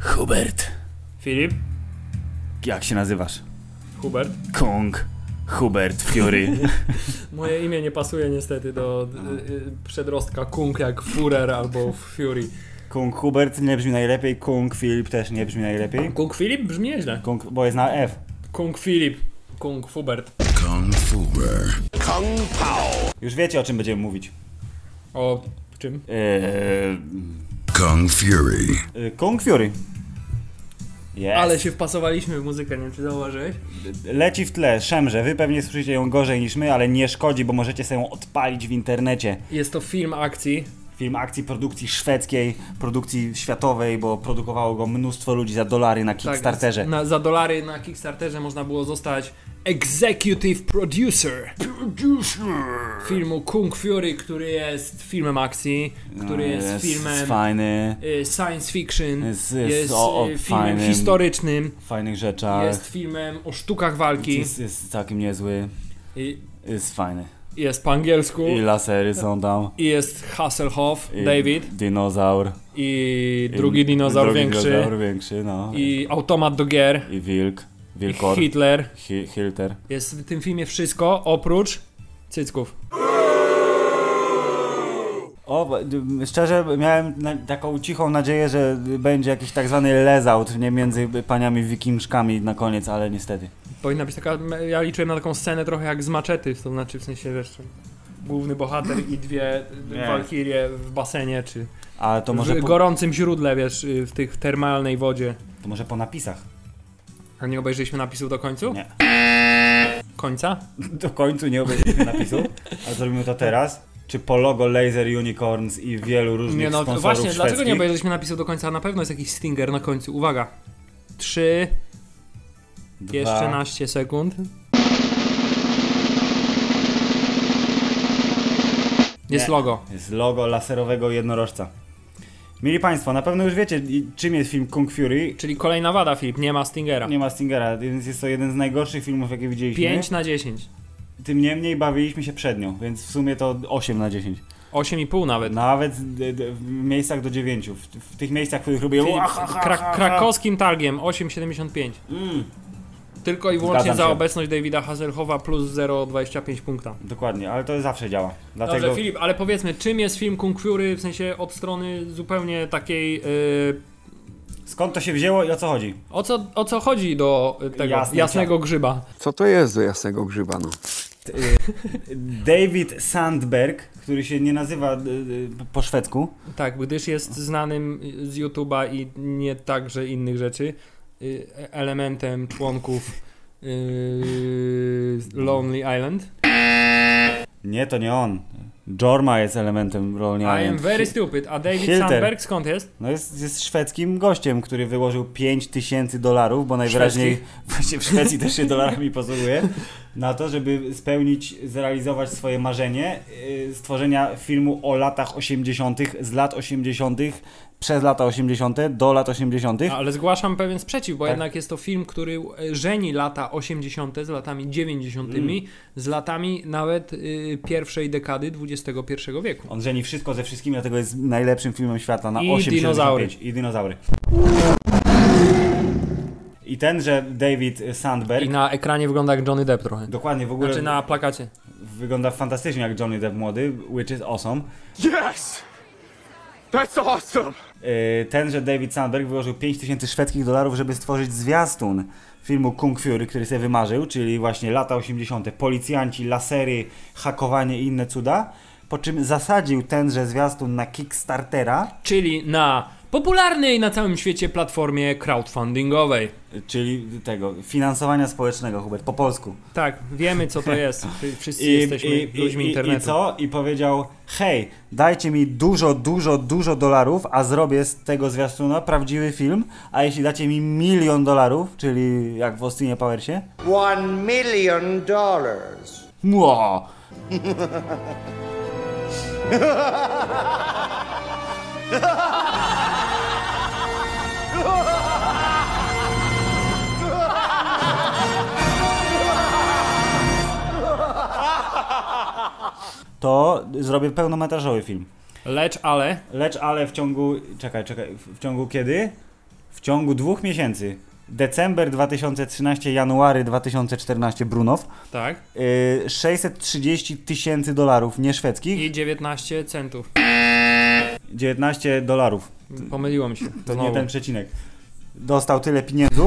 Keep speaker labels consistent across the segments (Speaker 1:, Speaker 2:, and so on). Speaker 1: Hubert.
Speaker 2: Filip?
Speaker 1: Jak się nazywasz?
Speaker 2: Hubert?
Speaker 1: Kung. Hubert Fury.
Speaker 2: Moje imię nie pasuje niestety do
Speaker 1: No.
Speaker 2: y, y, przedrostka Kung jak Führer albo Fury.
Speaker 1: Kung Hubert nie brzmi najlepiej, Kung Filip też nie brzmi najlepiej.
Speaker 2: Kung Filip brzmi nieźle.
Speaker 1: Kung, bo jest na F.
Speaker 2: Kung Filip. Kung Hubert.
Speaker 3: Kung Fu
Speaker 4: Kung Pao.
Speaker 1: Już wiecie o czym będziemy mówić.
Speaker 2: O czym?
Speaker 1: Eee,
Speaker 3: Kung Fury.
Speaker 1: e, Kung Fury. Jest.
Speaker 2: Ale się wpasowaliśmy w muzykę, nie wiem czy zauważyłeś?
Speaker 1: Leci w tle, szemrze. Wy pewnie słyszycie ją gorzej niż my, ale nie szkodzi, bo możecie sobie ją odpalić w internecie.
Speaker 2: Jest to film akcji. Tak,
Speaker 1: Film akcji produkcji szwedzkiej, produkcji światowej, bo produkowało go mnóstwo ludzi za dolary na Kickstarterze.
Speaker 2: Tak, na, za dolary na Kickstarterze można było zostać executive producer filmu Kung Fury, który jest filmem akcji, który jest, filmem
Speaker 1: No, Fajny,
Speaker 2: y, science fiction,
Speaker 1: Jest-
Speaker 2: jest,
Speaker 1: jest o- o
Speaker 2: y, filmem
Speaker 1: fajnym-
Speaker 2: historycznym,
Speaker 1: w fajnych rzeczach.
Speaker 2: jest filmem o sztukach walki,
Speaker 1: Jest, jest całkiem niezły.
Speaker 2: i-
Speaker 1: Jest fajny.
Speaker 2: jest po angielsku,
Speaker 1: I lasery są tam.
Speaker 2: i jest Hasselhoff,
Speaker 1: I
Speaker 2: David,
Speaker 1: Dinozaur.
Speaker 2: i drugi dinozaur
Speaker 1: drugi
Speaker 2: większy,
Speaker 1: Dinozaur większy, no.
Speaker 2: i automat do gier,
Speaker 1: I wilk.
Speaker 2: i
Speaker 1: Wilkor.
Speaker 2: Hitler.
Speaker 1: Hi Hilter.
Speaker 2: Jest w tym filmie wszystko oprócz cycków.
Speaker 1: O, bo, d- szczerze miałem na, taką cichą nadzieję, że będzie jakiś tak zwany lezaut nie między paniami wikingszkami na koniec, ale niestety.
Speaker 2: Powinna być taka, ja liczyłem na taką scenę trochę jak z maczety, to znaczy w sensie wiesz, główny bohater i dwie
Speaker 1: Nie.
Speaker 2: walkirie w basenie, czy
Speaker 1: Ale to może,
Speaker 2: w
Speaker 1: po,
Speaker 2: gorącym źródle, wiesz, y, w tych termalnej wodzie.
Speaker 1: to może po napisach.
Speaker 2: A nie obejrzeliśmy napisów do końca?
Speaker 1: Nie.
Speaker 2: Końca?
Speaker 1: Do końcu nie obejrzeliśmy napisu, ale zrobimy to teraz. Czy po logo Laser Unicorns i wielu różnych
Speaker 2: nie, no
Speaker 1: sponsorów
Speaker 2: właśnie,
Speaker 1: szwedzkich.
Speaker 2: dlaczego nie obejrzeliśmy napisów do końca? Na pewno jest jakiś stinger na końcu. Uwaga. 3,
Speaker 1: Dwa,
Speaker 2: jeszcze naście sekund. Jest
Speaker 1: Nie.
Speaker 2: logo.
Speaker 1: Jest logo laserowego jednorożca. Mili Państwo, na pewno już wiecie, i- czym jest film Kung Fury.
Speaker 2: Czyli kolejna wada, Filip, nie ma Stingera.
Speaker 1: Nie ma Stingera, więc jest to jeden z najgorszych filmów, jakie widzieliśmy.
Speaker 2: 5 na 10.
Speaker 1: Tym niemniej bawiliśmy się przed nią, więc w sumie to 8 na 10.
Speaker 2: 8,5 nawet.
Speaker 1: Nawet d- d- w miejscach do 9. W, w tych miejscach, w których robię.
Speaker 2: Filip,
Speaker 1: "Ua, ha, ha, ha,
Speaker 2: kra-
Speaker 1: ha".
Speaker 2: krakowskim targiem 8,75.
Speaker 1: Mm,
Speaker 2: Tylko i wyłącznie
Speaker 1: Zgadzam
Speaker 2: za
Speaker 1: się.
Speaker 2: obecność Davida Hazelhowa plus 0,25 punkta.
Speaker 1: dokładnie, ale to zawsze działa.
Speaker 2: Dobrze,
Speaker 1: Dlatego
Speaker 2: Filip, ale powiedzmy, czym jest film Kung Fury w sensie od strony zupełnie takiej. Yy,
Speaker 1: skąd to się wzięło i o co chodzi?
Speaker 2: o, co, o co chodzi do y, tego
Speaker 1: Jasny
Speaker 2: jasnego grzyba?
Speaker 4: Co to jest do jasnego grzyba, no?
Speaker 1: David Sandberg, który się nie nazywa d- d- po szwedzku,
Speaker 2: Tak, gdyż jest znanym z YouTube'a i nie także innych rzeczy y, elementem członków y, Lonely Island.
Speaker 1: Nie, to nie on. Jorma jest elementem rolnie.
Speaker 2: I am very stupid. A David
Speaker 1: Hilter.
Speaker 2: Sandberg skąd jest?
Speaker 1: No jest, jest szwedzkim gościem, który wyłożył 5 tysięcy dolarów, bo najwyraźniej właśnie w Szwecji też się dolarami posługuje, na to, żeby spełnić, zrealizować swoje marzenie yy, stworzenia filmu o latach 80., z lat 80., przez lata 80. do lat 80.
Speaker 2: No, Ale zgłaszam pewien sprzeciw, bo
Speaker 1: Tak.
Speaker 2: jednak jest to film, który e, żeni lata 80. z latami 90.,
Speaker 1: Mm.
Speaker 2: z latami nawet y, pierwszej dekady XXI wieku.
Speaker 1: On żeni wszystko ze wszystkim, dlatego jest najlepszym filmem świata na
Speaker 2: I
Speaker 1: 8,75.
Speaker 2: dinozaury.
Speaker 1: I dinozaury. I tenże David Sandberg
Speaker 2: I na ekranie wygląda jak Johnny Depp trochę.
Speaker 1: Dokładnie, w ogóle
Speaker 2: Znaczy na plakacie.
Speaker 1: wygląda fantastycznie jak Johnny Depp młody, which is awesome.
Speaker 4: Yes! That's awesome!
Speaker 1: Yy, Tenże David Sandberg wyłożył 5000 szwedzkich dolarów, żeby stworzyć zwiastun filmu Kung Fury, który sobie wymarzył, czyli właśnie lata 80., policjanci, lasery, hakowanie i inne cuda. Po czym zasadził tenże zwiastun na Kickstartera,
Speaker 2: Czyli na popularnej na całym świecie platformie crowdfundingowej.
Speaker 1: yy, czyli tego finansowania społecznego, Hubert, po polsku.
Speaker 2: Tak, wiemy co to jest. Wszyscy jesteśmy ludźmi
Speaker 1: i,
Speaker 2: internetu.
Speaker 1: I co? I powiedział, hej, dajcie mi dużo, dużo, dużo dolarów, a zrobię z tego zwiastuna prawdziwy film, a jeśli dacie mi milion dolarów, czyli jak w Austinie Powersie,
Speaker 5: One million dollars.
Speaker 1: mło, to zrobię pełnometrażowy film.
Speaker 2: Lecz ale
Speaker 1: Lecz ale w ciągu. Czekaj, czekaj. W w ciągu kiedy? W ciągu dwóch miesięcy. December 2013, january 2014 Brunow.
Speaker 2: Tak.
Speaker 1: Yy, 630 tysięcy dolarów, nie szwedzkich.
Speaker 2: I 19 centów.
Speaker 1: 19 dolarów.
Speaker 2: Pomyliło mi się.
Speaker 1: To
Speaker 2: Znowu.
Speaker 1: nie ten przecinek. Dostał tyle pieniędzy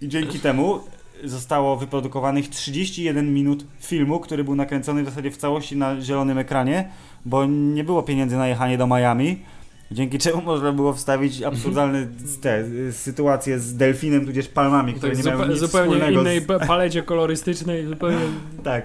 Speaker 1: i dzięki temu zostało wyprodukowanych 31 minut filmu, który był nakręcony w zasadzie w całości na zielonym ekranie, bo nie było pieniędzy na jechanie do Miami. Dzięki czemu można było wstawić absurdalne te y, sytuacje z delfinem tudzież palmami, które
Speaker 2: Tak,
Speaker 1: nie miały
Speaker 2: zupe-
Speaker 1: nic
Speaker 2: zupełnie
Speaker 1: wspólnego
Speaker 2: innej
Speaker 1: z...
Speaker 2: pa- palecie kolorystycznej, zupełnie
Speaker 1: Tak.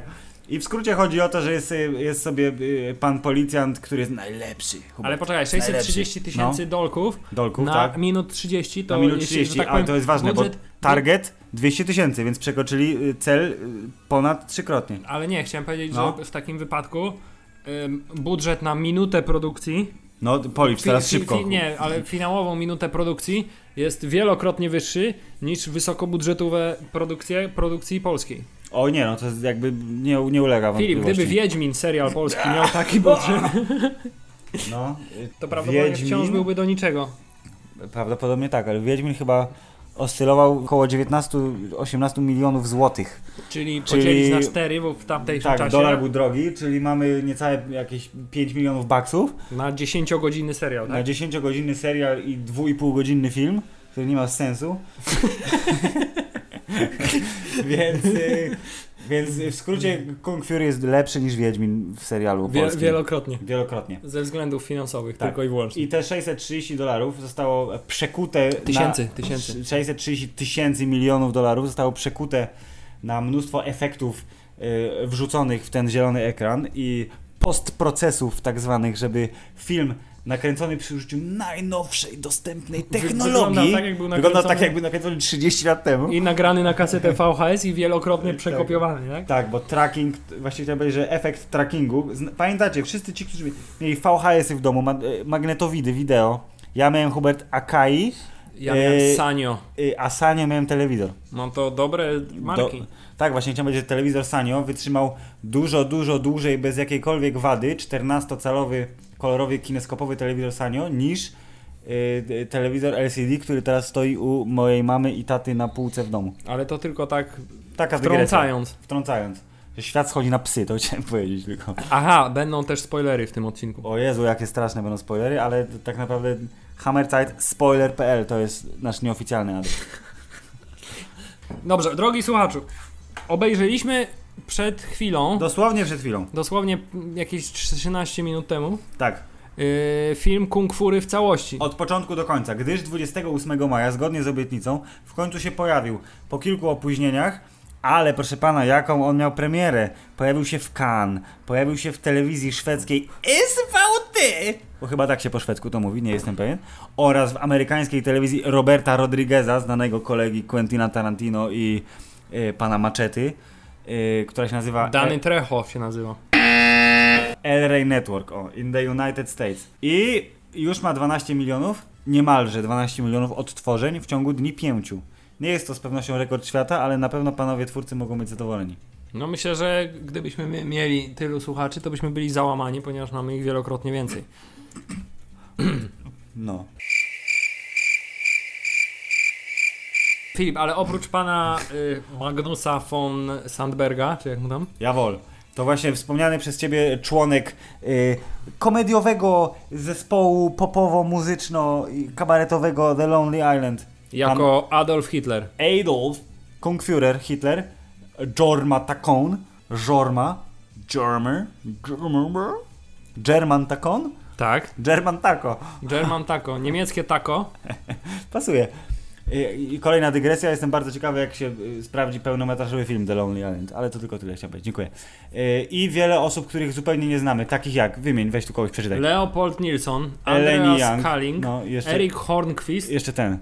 Speaker 1: I w skrócie chodzi o to, że jest, y, jest sobie y, pan policjant, który jest najlepszy. Hubert.
Speaker 2: Ale poczekaj, 630 tysięcy dolków
Speaker 1: Dolków,
Speaker 2: na
Speaker 1: tak?
Speaker 2: minut 30 to
Speaker 1: na minut
Speaker 2: jeśli,
Speaker 1: 30,
Speaker 2: że tak
Speaker 1: ale
Speaker 2: powiem,
Speaker 1: to jest ważne,
Speaker 2: budżet,
Speaker 1: bo target 200 tysięcy, więc przekroczyli y, cel y, ponad trzykrotnie.
Speaker 2: Ale nie, chciałem powiedzieć,
Speaker 1: No.
Speaker 2: że w takim wypadku ym, budżet na minutę produkcji
Speaker 1: No, policz teraz
Speaker 2: fi- fi-
Speaker 1: szybko.
Speaker 2: nie, ale finałową minutę produkcji jest wielokrotnie wyższy niż wysokobudżetowe produkcje produkcji polskiej.
Speaker 1: O nie, no to jest jakby nie, nie ulega
Speaker 2: Filip,
Speaker 1: wątpliwości.
Speaker 2: gdyby Wiedźmin serial polski miał taki budżet,
Speaker 1: no, y,
Speaker 2: to prawdopodobnie
Speaker 1: Wiedźmin?
Speaker 2: wciąż byłby do niczego.
Speaker 1: Prawdopodobnie tak, ale Wiedźmin chyba oscylował około 19-18 milionów złotych.
Speaker 2: Czyli,
Speaker 1: Czyli-
Speaker 2: podzielić na 4, bo w tamtejszym
Speaker 1: Tak,
Speaker 2: czasie
Speaker 1: dolar był drogi, czyli mamy niecałe jakieś 5 milionów baksów
Speaker 2: na 10 godziny serial,
Speaker 1: na
Speaker 2: tak?
Speaker 1: 10-godzinny serial i 2,5 godzinny film, który nie ma sensu. więc, y, więc w skrócie Kung Fury jest lepszy niż Wiedźmin w serialu
Speaker 2: Wie,
Speaker 1: polskim.
Speaker 2: wielokrotnie.
Speaker 1: Wielokrotnie.
Speaker 2: Ze względów finansowych,
Speaker 1: Tak.
Speaker 2: tylko i wyłącznie.
Speaker 1: I te 630 dolarów zostało przekute
Speaker 2: Tysięcy,
Speaker 1: na,
Speaker 2: tysięcy.
Speaker 1: 630 tysięcy milionów dolarów zostało przekute na mnóstwo efektów y, wrzuconych w ten zielony ekran i postprocesów tak zwanych, żeby film nakręcony przy użyciu najnowszej dostępnej technologii
Speaker 2: wyglądał tak, jak był
Speaker 1: wygląda tak
Speaker 2: nakręcony-
Speaker 1: jakby nakręcony 30 lat temu.
Speaker 2: I nagrany na kasetę VHS i wielokrotnie
Speaker 1: Tak.
Speaker 2: przekopiowany, tak?
Speaker 1: Tak, bo tracking, właśnie chciałem powiedzieć, że efekt trackingu, zn- pamiętacie, wszyscy ci, którzy mieli VHS-y w domu, ma, e, magnetowidy, wideo, ja miałem Hubert Akai,
Speaker 2: Ja miałem
Speaker 1: Eee,
Speaker 2: Sanio.
Speaker 1: y, a Sanio miałem telewizor.
Speaker 2: Mam to dobre marki.
Speaker 1: Do- tak, właśnie chciałem powiedzieć, że telewizor Sanio wytrzymał dużo, dużo dłużej, bez jakiejkolwiek wady, 14-calowy, kolorowy, kineskopowy telewizor Sanio, niż y, y, telewizor LCD, który teraz stoi u mojej mamy i taty na półce w domu.
Speaker 2: Ale to tylko tak
Speaker 1: Taka dygresja.
Speaker 2: wtrącając.
Speaker 1: Wtrącając. Że świat schodzi na psy, to chciałem powiedzieć tylko.
Speaker 2: Aha, będą też spoilery w tym odcinku.
Speaker 1: O Jezu, jakie straszne będą spoilery, ale t- tak naprawdę hammerzeit.spoiler.pl to jest nasz nieoficjalny adres.
Speaker 2: Dobrze, drogi słuchaczu. Obejrzeliśmy przed chwilą,
Speaker 1: Dosłownie przed chwilą.
Speaker 2: dosłownie jakieś 13 minut temu,
Speaker 1: Tak.
Speaker 2: yy, film Kung Fury w całości.
Speaker 1: Od początku do końca, gdyż 28 maja, zgodnie z obietnicą, w końcu się pojawił. Po kilku opóźnieniach, ale proszę pana, jaką on miał premierę? Pojawił się w Cannes, pojawił się w telewizji szwedzkiej SVT, bo chyba tak się po szwedzku to mówi, nie jestem pewien, oraz w amerykańskiej telewizji Roberta Rodrigueza, znanego kolegi Quentina Tarantino i y, pana Maczety, y, która się nazywa...
Speaker 2: Dany Trecho się nazywa.
Speaker 1: El Rey Network, o, in the United States. I już ma 12 milionów, niemalże 12 milionów odtworzeń w ciągu dni pięciu. Nie jest to z pewnością rekord świata, ale na pewno panowie twórcy mogą być zadowoleni.
Speaker 2: No myślę, że gdybyśmy mi- mieli tylu słuchaczy, to byśmy byli załamani, ponieważ mamy ich wielokrotnie więcej.
Speaker 1: No.
Speaker 2: Filip, ale oprócz pana y, Magnusa von Sandberga, czy jak mu tam?
Speaker 1: Jawol. To właśnie wspomniany przez ciebie członek y, komediowego zespołu popowo-muzyczno-kabaretowego The Lonely Island.
Speaker 2: Jako Adolf Hitler.
Speaker 1: Adolf Kungführer Hitler Jorma Takon Jorma Germer Germer German Takon
Speaker 2: Tak.
Speaker 1: German Tako
Speaker 2: German Taco, niemieckie Taco.
Speaker 1: pasuje I, i kolejna dygresja, jestem bardzo ciekawy jak się y, sprawdzi pełnometrażowy film The Lonely Island ale to tylko tyle chciałem powiedzieć, dziękuję Y, i wiele osób, których zupełnie nie znamy takich jak, wymień, weź tu kogoś, przeczytaj
Speaker 2: Leopold Nilsson,
Speaker 1: Tak. Eleni
Speaker 2: Andreas
Speaker 1: Young.
Speaker 2: Kalling,
Speaker 1: No, jeszcze-
Speaker 2: Erik Hornquist,
Speaker 1: jeszcze ten,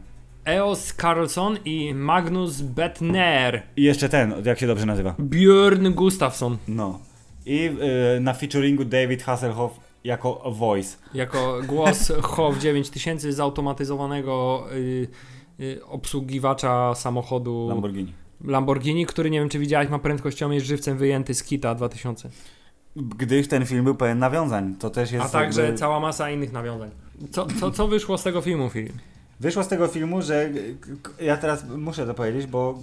Speaker 2: Eos Karlsson i Magnus Bettner.
Speaker 1: i jeszcze ten, jak się dobrze nazywa
Speaker 2: Björn Gustafsson
Speaker 1: no i y, na featuringu David Hasselhoff jako voice
Speaker 2: jako głos HOW 9000 zautomatyzowanego y, y, obsługiwacza samochodu
Speaker 1: Lamborghini
Speaker 2: Lamborghini, który nie wiem czy widziałeś, ma prędkościomierz żywcem wyjęty z kita 2000.
Speaker 1: gdyż ten film był pełen nawiązań. To też jest.
Speaker 2: A także
Speaker 1: jakby-
Speaker 2: cała masa innych nawiązań. Co, co, co wyszło z tego filmu, Filip?
Speaker 1: Wyszło z tego filmu, że k- k- ja teraz muszę to powiedzieć, bo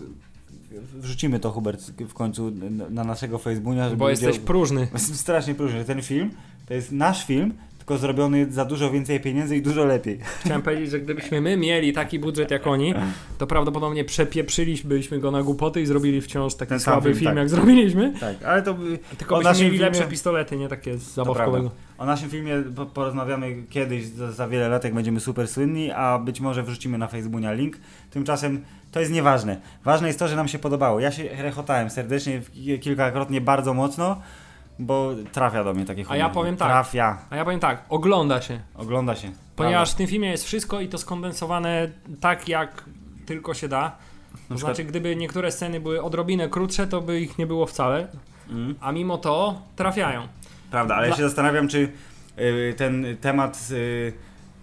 Speaker 1: wrzucimy to Hubert w końcu na- na naszego Facebooka, żeby
Speaker 2: Bo jesteś
Speaker 1: ludzie-
Speaker 2: próżny.
Speaker 1: Jestem strasznie próżny. Ten film to jest nasz film, tylko zrobiony za dużo więcej pieniędzy i dużo lepiej.
Speaker 2: Chciałem powiedzieć, że gdybyśmy my mieli taki budżet jak oni, to prawdopodobnie przepieprzylibyśmy go na głupoty i zrobili wciąż taki
Speaker 1: Ten sam
Speaker 2: słaby
Speaker 1: film,
Speaker 2: film,
Speaker 1: tak.
Speaker 2: jak zrobiliśmy.
Speaker 1: Tak, ale to by-
Speaker 2: Tylko
Speaker 1: o
Speaker 2: byśmy mieli
Speaker 1: naszym
Speaker 2: lepsze
Speaker 1: filmie-
Speaker 2: pistolety, nie takie z
Speaker 1: To
Speaker 2: zabawkowego.
Speaker 1: prawda. O naszym filmie po- porozmawiamy kiedyś, za, za wiele lat, jak będziemy super słynni, a być może wrzucimy na Facebooka link. Tymczasem to jest nieważne. Ważne jest to, że nam się podobało. Ja się rechotałem serdecznie w- kilkakrotnie bardzo mocno, bo trafia do mnie takie humor.
Speaker 2: ja powiem tak.
Speaker 1: Trafia.
Speaker 2: A ja powiem tak, ogląda się.
Speaker 1: Ogląda się.
Speaker 2: Ponieważ w tym filmie jest wszystko i to skondensowane tak, jak tylko się da. To
Speaker 1: przykład-
Speaker 2: znaczy, gdyby niektóre sceny były odrobinę krótsze, to by ich nie było wcale.
Speaker 1: Mm.
Speaker 2: A mimo to trafiają.
Speaker 1: Prawda, ale ja się zastanawiam, czy y, ten temat z y,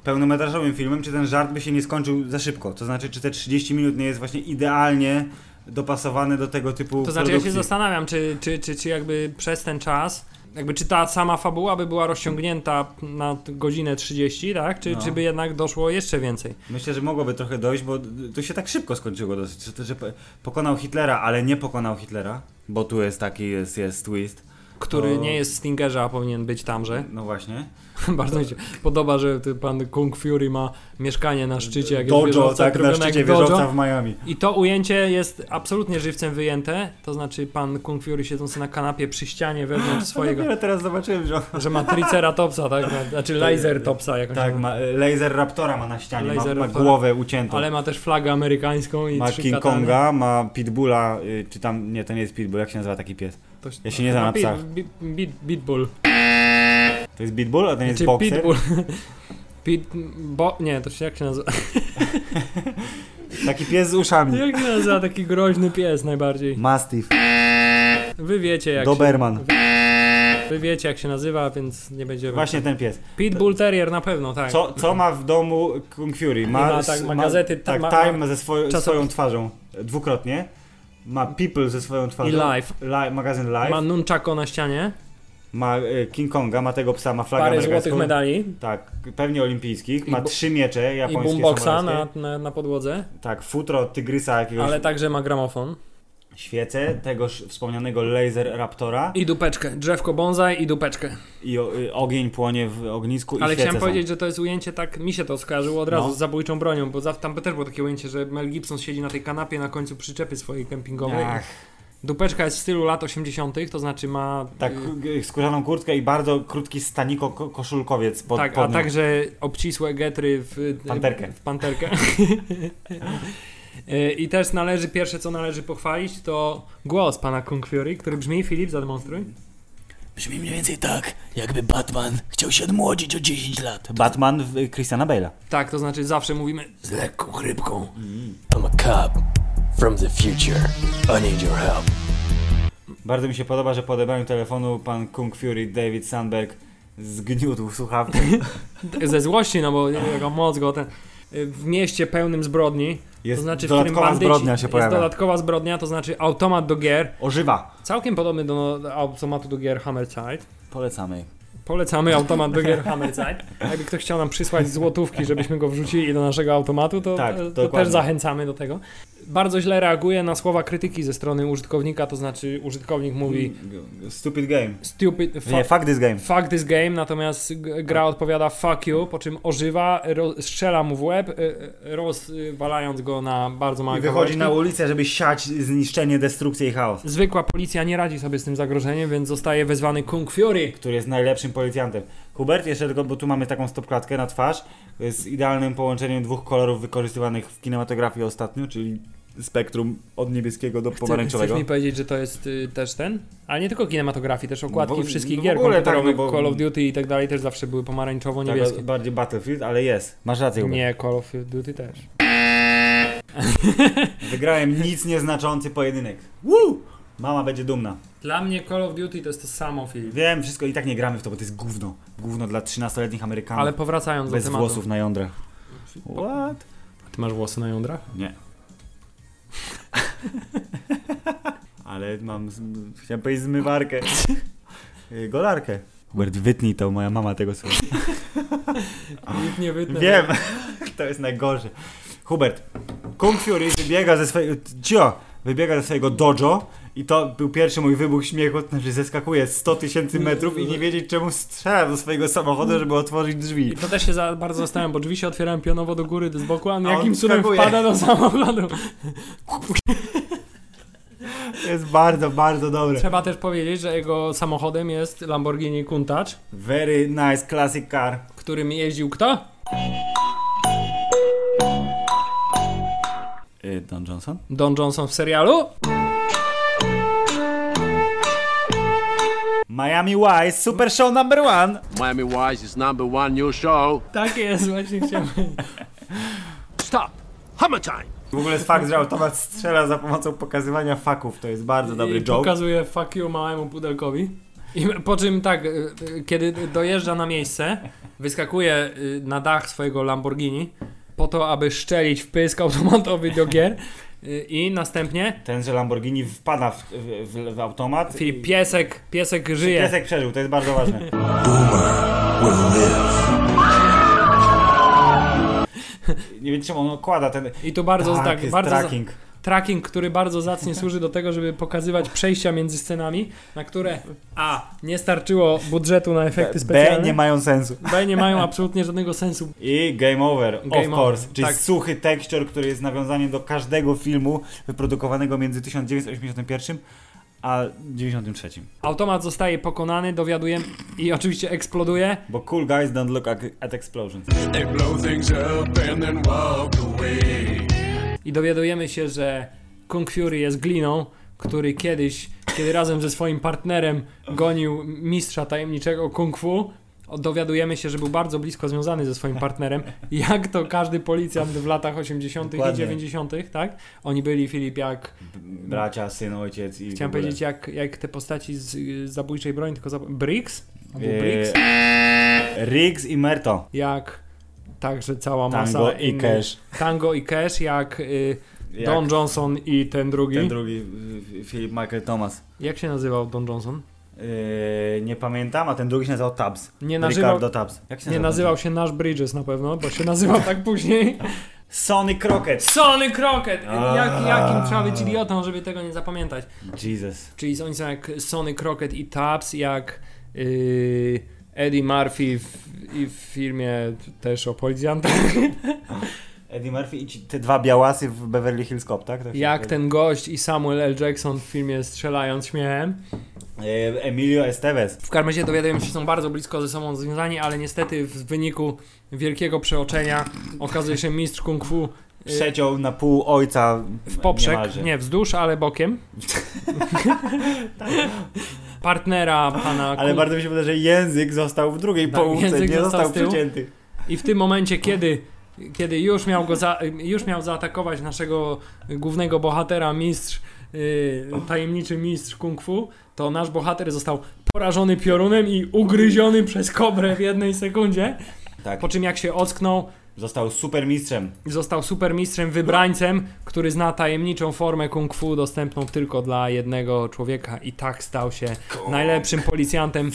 Speaker 1: pełnometrażowym filmem, czy ten żart by się nie skończył za szybko. To znaczy, czy te 30 minut nie jest właśnie idealnie dopasowane do tego typu
Speaker 2: To znaczy, ja
Speaker 1: produkcji.
Speaker 2: się zastanawiam, czy, czy, czy, czy jakby przez ten czas, jakby czy ta sama fabuła by była rozciągnięta na t- godzinę 30, tak?
Speaker 1: No.
Speaker 2: Czy, czy by jednak doszło jeszcze więcej?
Speaker 1: Myślę, że mogłoby trochę dojść, bo to się tak szybko skończyło dosyć, że- że pe- pokonał Hitlera, ale nie pokonał Hitlera, bo tu jest taki, jest, jest twist.
Speaker 2: Który
Speaker 1: To-
Speaker 2: nie jest Stingerza, a powinien być tamże.
Speaker 1: No właśnie.
Speaker 2: Bardzo mi się podoba, że ty- pan Kung Fury ma mieszkanie na szczycie. Jak jest
Speaker 1: Dojo,
Speaker 2: wieżowca,
Speaker 1: tak, na
Speaker 2: zrobione jak
Speaker 1: szczycie
Speaker 2: dojo.
Speaker 1: wieżowca w Miami.
Speaker 2: I to ujęcie jest absolutnie żywcem wyjęte. To znaczy, pan Kung Fury siedzący na kanapie przy ścianie wewnątrz swojego,
Speaker 1: Dopiero teraz zobaczyłem, że...
Speaker 2: że ma triceratopsa, tak? Znaczy, laser topsa jakąś.
Speaker 1: Tak, ma, laser Raptora ma na ścianie, ma,
Speaker 2: Laser
Speaker 1: ma
Speaker 2: Raptora.
Speaker 1: głowę uciętą.
Speaker 2: Ale ma też flagę amerykańską i
Speaker 1: Ma
Speaker 2: trzy
Speaker 1: King
Speaker 2: katany.
Speaker 1: Konga, ma Pitbulla, y, czy tam, nie, to nie jest Pitbull, jak się nazywa taki pies?
Speaker 2: To-
Speaker 1: Ja się nie znam
Speaker 2: Ma
Speaker 1: na
Speaker 2: pit-
Speaker 1: psach.
Speaker 2: bit- bit- Pitbull.
Speaker 1: To jest Pitbull, a ten jest
Speaker 2: Czy
Speaker 1: Boxer?
Speaker 2: Pitbull. Pit, bo, nie, to się jak się nazywa?
Speaker 1: Taki pies z uszami.
Speaker 2: Jak się nazywa taki groźny pies najbardziej?
Speaker 1: Mastiff,
Speaker 2: Wy wiecie jak
Speaker 1: Doberman.
Speaker 2: się, Wy wiecie jak się nazywa, więc nie będziemy.
Speaker 1: Właśnie ten pies.
Speaker 2: Pitbull Terrier na pewno, tak.
Speaker 1: Co, co ma w domu Kung Fury? Ma,
Speaker 2: Ma, tak, ma gazety, ta-
Speaker 1: tak,
Speaker 2: ma-
Speaker 1: Time
Speaker 2: ma-
Speaker 1: ze swoją,
Speaker 2: czasop-
Speaker 1: swoją twarzą, e, dwukrotnie. Ma People ze swoją twarzą.
Speaker 2: Life.
Speaker 1: Li- magazyn Life.
Speaker 2: Ma
Speaker 1: Ma,
Speaker 2: nunchako na ścianie,
Speaker 1: e, King Konga, ma tego psa, ma flagę
Speaker 2: parę
Speaker 1: amerykańską.
Speaker 2: złotych medali
Speaker 1: Tak, pewnie olimpijskich. Ma
Speaker 2: I bu-
Speaker 1: trzy miecze
Speaker 2: i
Speaker 1: japońskie,
Speaker 2: boomboxa na,
Speaker 1: samurajskie.
Speaker 2: na, na podłodze,
Speaker 1: Tak, futro od tygrysa jakiegoś.
Speaker 2: ale także ma gramofon.
Speaker 1: Świecę tegoż wspomnianego Laser Raptora.
Speaker 2: I dupeczkę, drzewko bonsai i dupeczkę.
Speaker 1: i o, y, ogień płonie w ognisku i
Speaker 2: Ale
Speaker 1: świece
Speaker 2: chciałem
Speaker 1: są.
Speaker 2: powiedzieć, że to jest ujęcie tak, mi się to skojarzyło od razu
Speaker 1: No.
Speaker 2: z zabójczą bronią, bo za, tam też było takie ujęcie, że Mel Gibson siedzi na tej kanapie na końcu przyczepy swojej kempingowej.
Speaker 1: Ach.
Speaker 2: Dupeczka jest w stylu lat 80., to znaczy ma
Speaker 1: Tak,
Speaker 2: y,
Speaker 1: y, skórzaną kurtkę i bardzo krótki staniko ko- koszulkowiec pod,
Speaker 2: tak
Speaker 1: pod
Speaker 2: a
Speaker 1: nią.
Speaker 2: także obcisłe getry w
Speaker 1: Panterkę.
Speaker 2: W panterkę. Y, I też należy, pierwsze co należy pochwalić, to głos pana Kung Fury, który brzmi, Filip, zademonstruj.
Speaker 6: Brzmi mniej więcej tak, jakby Batman chciał się odmłodzić o 10 lat.
Speaker 1: Batman w- y, Christiana Bale'a.
Speaker 2: Tak, to znaczy zawsze mówimy,
Speaker 6: Z lekką chrypką. I'm Mm. a cop from the future. I need your help.
Speaker 1: Bardzo mi się podoba, że po odebraniu telefonu pan Kung Fury David Sandberg zgniótł słuchawkę.
Speaker 2: ze złości, no bo jego moc go ten... y, W mieście pełnym zbrodni,
Speaker 1: Jest
Speaker 2: to znaczy w którym
Speaker 1: dodatkowa
Speaker 2: bandyci,
Speaker 1: zbrodnia się
Speaker 2: jest
Speaker 1: pojawia.
Speaker 2: dodatkowa zbrodnia, to znaczy automat do gier,
Speaker 1: Ożywa.
Speaker 2: całkiem podobny do no, automatu do gier Hammer Tide.
Speaker 1: Polecamy.
Speaker 2: Polecamy automat do gier Hammer Tide. A Jakby ktoś chciał nam przysłać złotówki, żebyśmy go wrzucili do naszego automatu, to,
Speaker 1: Tak,
Speaker 2: to, to
Speaker 1: dokładnie.
Speaker 2: też zachęcamy do tego. Bardzo źle reaguje na słowa krytyki ze strony użytkownika, to znaczy użytkownik mówi
Speaker 1: Stupid game.
Speaker 2: stupid,
Speaker 1: Mm. Nie, fuck this game.
Speaker 2: Fuck this game, natomiast g-
Speaker 1: Tak.
Speaker 2: gra odpowiada fuck you, po czym ożywa, ro- strzela mu w łeb, y, y, rozwalając go na bardzo małe
Speaker 1: I wychodzi
Speaker 2: kawałeczki.
Speaker 1: na ulicę, żeby siać zniszczenie, destrukcję i chaos.
Speaker 2: Zwykła policja nie radzi sobie z tym zagrożeniem, więc zostaje wezwany Kung Fury.
Speaker 1: który jest najlepszym policjantem. Hubert, jeszcze tylko, bo tu mamy taką stopklatkę na twarz z idealnym połączeniem dwóch kolorów wykorzystywanych w kinematografii ostatnio, czyli spektrum od niebieskiego do pomarańczowego.
Speaker 2: Chcesz mi powiedzieć, że to jest y, też ten? Ale nie tylko kinematografii, też okładki
Speaker 1: No bo-
Speaker 2: wszystkich
Speaker 1: no w
Speaker 2: gier
Speaker 1: ogóle tak,
Speaker 2: komputerowych,
Speaker 1: no bo-
Speaker 2: Call of Duty i tak dalej też zawsze były pomarańczowo-niebieskie.
Speaker 1: Tak, bardziej Battlefield, ale jest. Masz rację, Hubert.
Speaker 2: nie, Call of Duty też.
Speaker 1: Wygrałem nic nieznaczący pojedynek. Woo! Mama będzie dumna.
Speaker 2: Dla mnie Call of Duty to jest to samo, film.
Speaker 1: Wiem, wszystko i tak nie gramy w to, bo to jest gówno. Gówno dla 13-letnich Amerykanów.
Speaker 2: Ale powracając
Speaker 1: bez
Speaker 2: do tematu.
Speaker 1: włosów na jądrach. What?
Speaker 2: Ty masz włosy na jądrach?
Speaker 1: Nie. Ale mam. Z... Chciałem powiedzieć zmywarkę. y, golarkę. Hubert, wytnij to, moja mama tego słucha.
Speaker 2: Nikt nie wytnę.
Speaker 1: Wiem, to jest najgorsze. Hubert, Kung Fury wybiega ze swojego... Cio! Wybiega ze swojego dojo i to był pierwszy mój wybuch śmiechu, to znaczy zeskakuje 100 tysięcy metrów i nie wiedzieć czemu strzela do swojego samochodu, żeby otworzyć drzwi.
Speaker 2: I to też się za bardzo zastanawiam, bo drzwi się otwierałem pionowo do góry, do z boku, a on
Speaker 1: A on
Speaker 2: jakim cudem
Speaker 1: skakuje.
Speaker 2: wpada do samochodu.
Speaker 1: To jest bardzo, bardzo dobre.
Speaker 2: Trzeba też powiedzieć, że jego samochodem jest Lamborghini Countach,
Speaker 1: Very nice classic car.
Speaker 2: którym jeździł kto?
Speaker 1: Y, Don Johnson?
Speaker 2: Don Johnson w serialu?
Speaker 1: Miami Wise, super show number one!
Speaker 7: Miami Wise is number one new show.
Speaker 2: Tak jest, właśnie chciałem.
Speaker 7: Stop. Hammer time.
Speaker 1: W ogóle jest fakt, że automat strzela za pomocą pokazywania faków, to jest bardzo dobry
Speaker 2: I
Speaker 1: joke.
Speaker 2: pokazuje fuck you małemu pudelkowi. I po czym tak, y, y, kiedy dojeżdża na miejsce, wyskakuje y, na dach swojego Lamborghini po to, aby szczelić w pysk automatowi do gier y, i następnie
Speaker 1: Ten, że Lamborghini wpada w, w, w, w automat.
Speaker 2: Filip piesek, piesek żyje.
Speaker 1: Piesek przeżył, to jest bardzo ważne.
Speaker 3: Boomer will live.
Speaker 1: Nie wiem czemu on okłada ten...
Speaker 2: I to bardzo tak,
Speaker 1: jest
Speaker 2: bardzo
Speaker 1: tracking.
Speaker 2: tracking, który bardzo zacnie służy do tego, żeby pokazywać przejścia między scenami, na które A nie starczyło budżetu na efekty specjalne.
Speaker 1: B nie mają sensu.
Speaker 2: B nie mają absolutnie żadnego sensu.
Speaker 1: I Game Over,
Speaker 2: Game
Speaker 1: of
Speaker 2: over,
Speaker 1: course, czyli
Speaker 2: tak.
Speaker 1: suchy tekstur, który jest nawiązaniem do każdego filmu wyprodukowanego między 1981 a 93.
Speaker 2: Automat zostaje pokonany, dowiadujemy i oczywiście eksploduje.
Speaker 1: Bo cool guys don't look at, at explosions.
Speaker 4: They blow things up and then walk away.
Speaker 2: I dowiadujemy się, że Kung Fury jest gliną, który kiedyś, kiedy razem ze swoim partnerem gonił mistrza tajemniczego Kung Fu, o- dowiadujemy się, że był bardzo blisko związany ze swoim partnerem, jak to każdy policjant w latach 80. i
Speaker 1: Dokładnie.
Speaker 2: 90., tak? Oni byli, Filip, jak,
Speaker 1: Bracia, syn, ojciec i
Speaker 2: chciałem
Speaker 1: w ogóle.
Speaker 2: powiedzieć, jak, jak te postaci z y, zabójczej broni, tylko zab... Briggs? On był
Speaker 1: Eee,
Speaker 2: Briggs?
Speaker 1: Riggs i Merto.
Speaker 2: Jak także cała masa
Speaker 1: Tango i
Speaker 2: innych-
Speaker 1: Cash.
Speaker 2: Tango i Cash, jak, y,
Speaker 1: Jak
Speaker 2: Don Johnson i ten drugi.
Speaker 1: Ten drugi, y, Philip Michael Thomas.
Speaker 2: Jak się nazywał Don Johnson?
Speaker 1: Yy, nie pamiętam, a ten drugi się nazywał Tabs.
Speaker 2: Nie nazywał-
Speaker 1: Ricardo Tabs. Jak się
Speaker 2: Nie nazywał się Nash Bridges na pewno, bo się nazywał tak później.
Speaker 1: Sonic Rocket.
Speaker 2: Sony Crockett! Jak, jakim trzeba być idiotą, żeby tego nie zapamiętać?
Speaker 1: Jesus.
Speaker 2: Czyli oni są jak Sony Crockett i Taps, jak yy, Eddie Murphy w, i w filmie też o policjantach.
Speaker 1: Eddie Murphy i ci, te dwa białasy w Beverly Hills Cop, tak? To się
Speaker 2: Jak
Speaker 1: nazywa?
Speaker 2: ten gość i Samuel L. Jackson w filmie Strzelając śmiechem.
Speaker 1: E, Emilio Estevez.
Speaker 2: W każdym razie dowiadujemy się, że są bardzo blisko ze sobą związani, ale niestety w wyniku wielkiego przeoczenia okazuje się mistrz kung fu y,
Speaker 1: Przeciął na pół ojca
Speaker 2: w poprzek,
Speaker 1: niemalże.
Speaker 2: nie wzdłuż, ale bokiem. Partnera pana
Speaker 1: Ale
Speaker 2: kung-
Speaker 1: bardzo mi się podoba, że język został w drugiej
Speaker 2: Tak,
Speaker 1: połówce,
Speaker 2: język
Speaker 1: nie
Speaker 2: został
Speaker 1: został
Speaker 2: z tyłu.
Speaker 1: przycięty.
Speaker 2: i w tym momencie, kiedy, kiedy już, miał go za, już miał zaatakować naszego głównego bohatera, mistrz, y, tajemniczy mistrz kung fu, to nasz bohater został porażony piorunem i ugryziony przez kobrę w jednej sekundzie.
Speaker 1: Tak,
Speaker 2: Po czym jak się ocknął,
Speaker 1: został supermistrzem.
Speaker 2: Został supermistrzem, wybrańcem, który zna tajemniczą formę kung fu dostępną tylko dla jednego człowieka i tak stał się najlepszym policjantem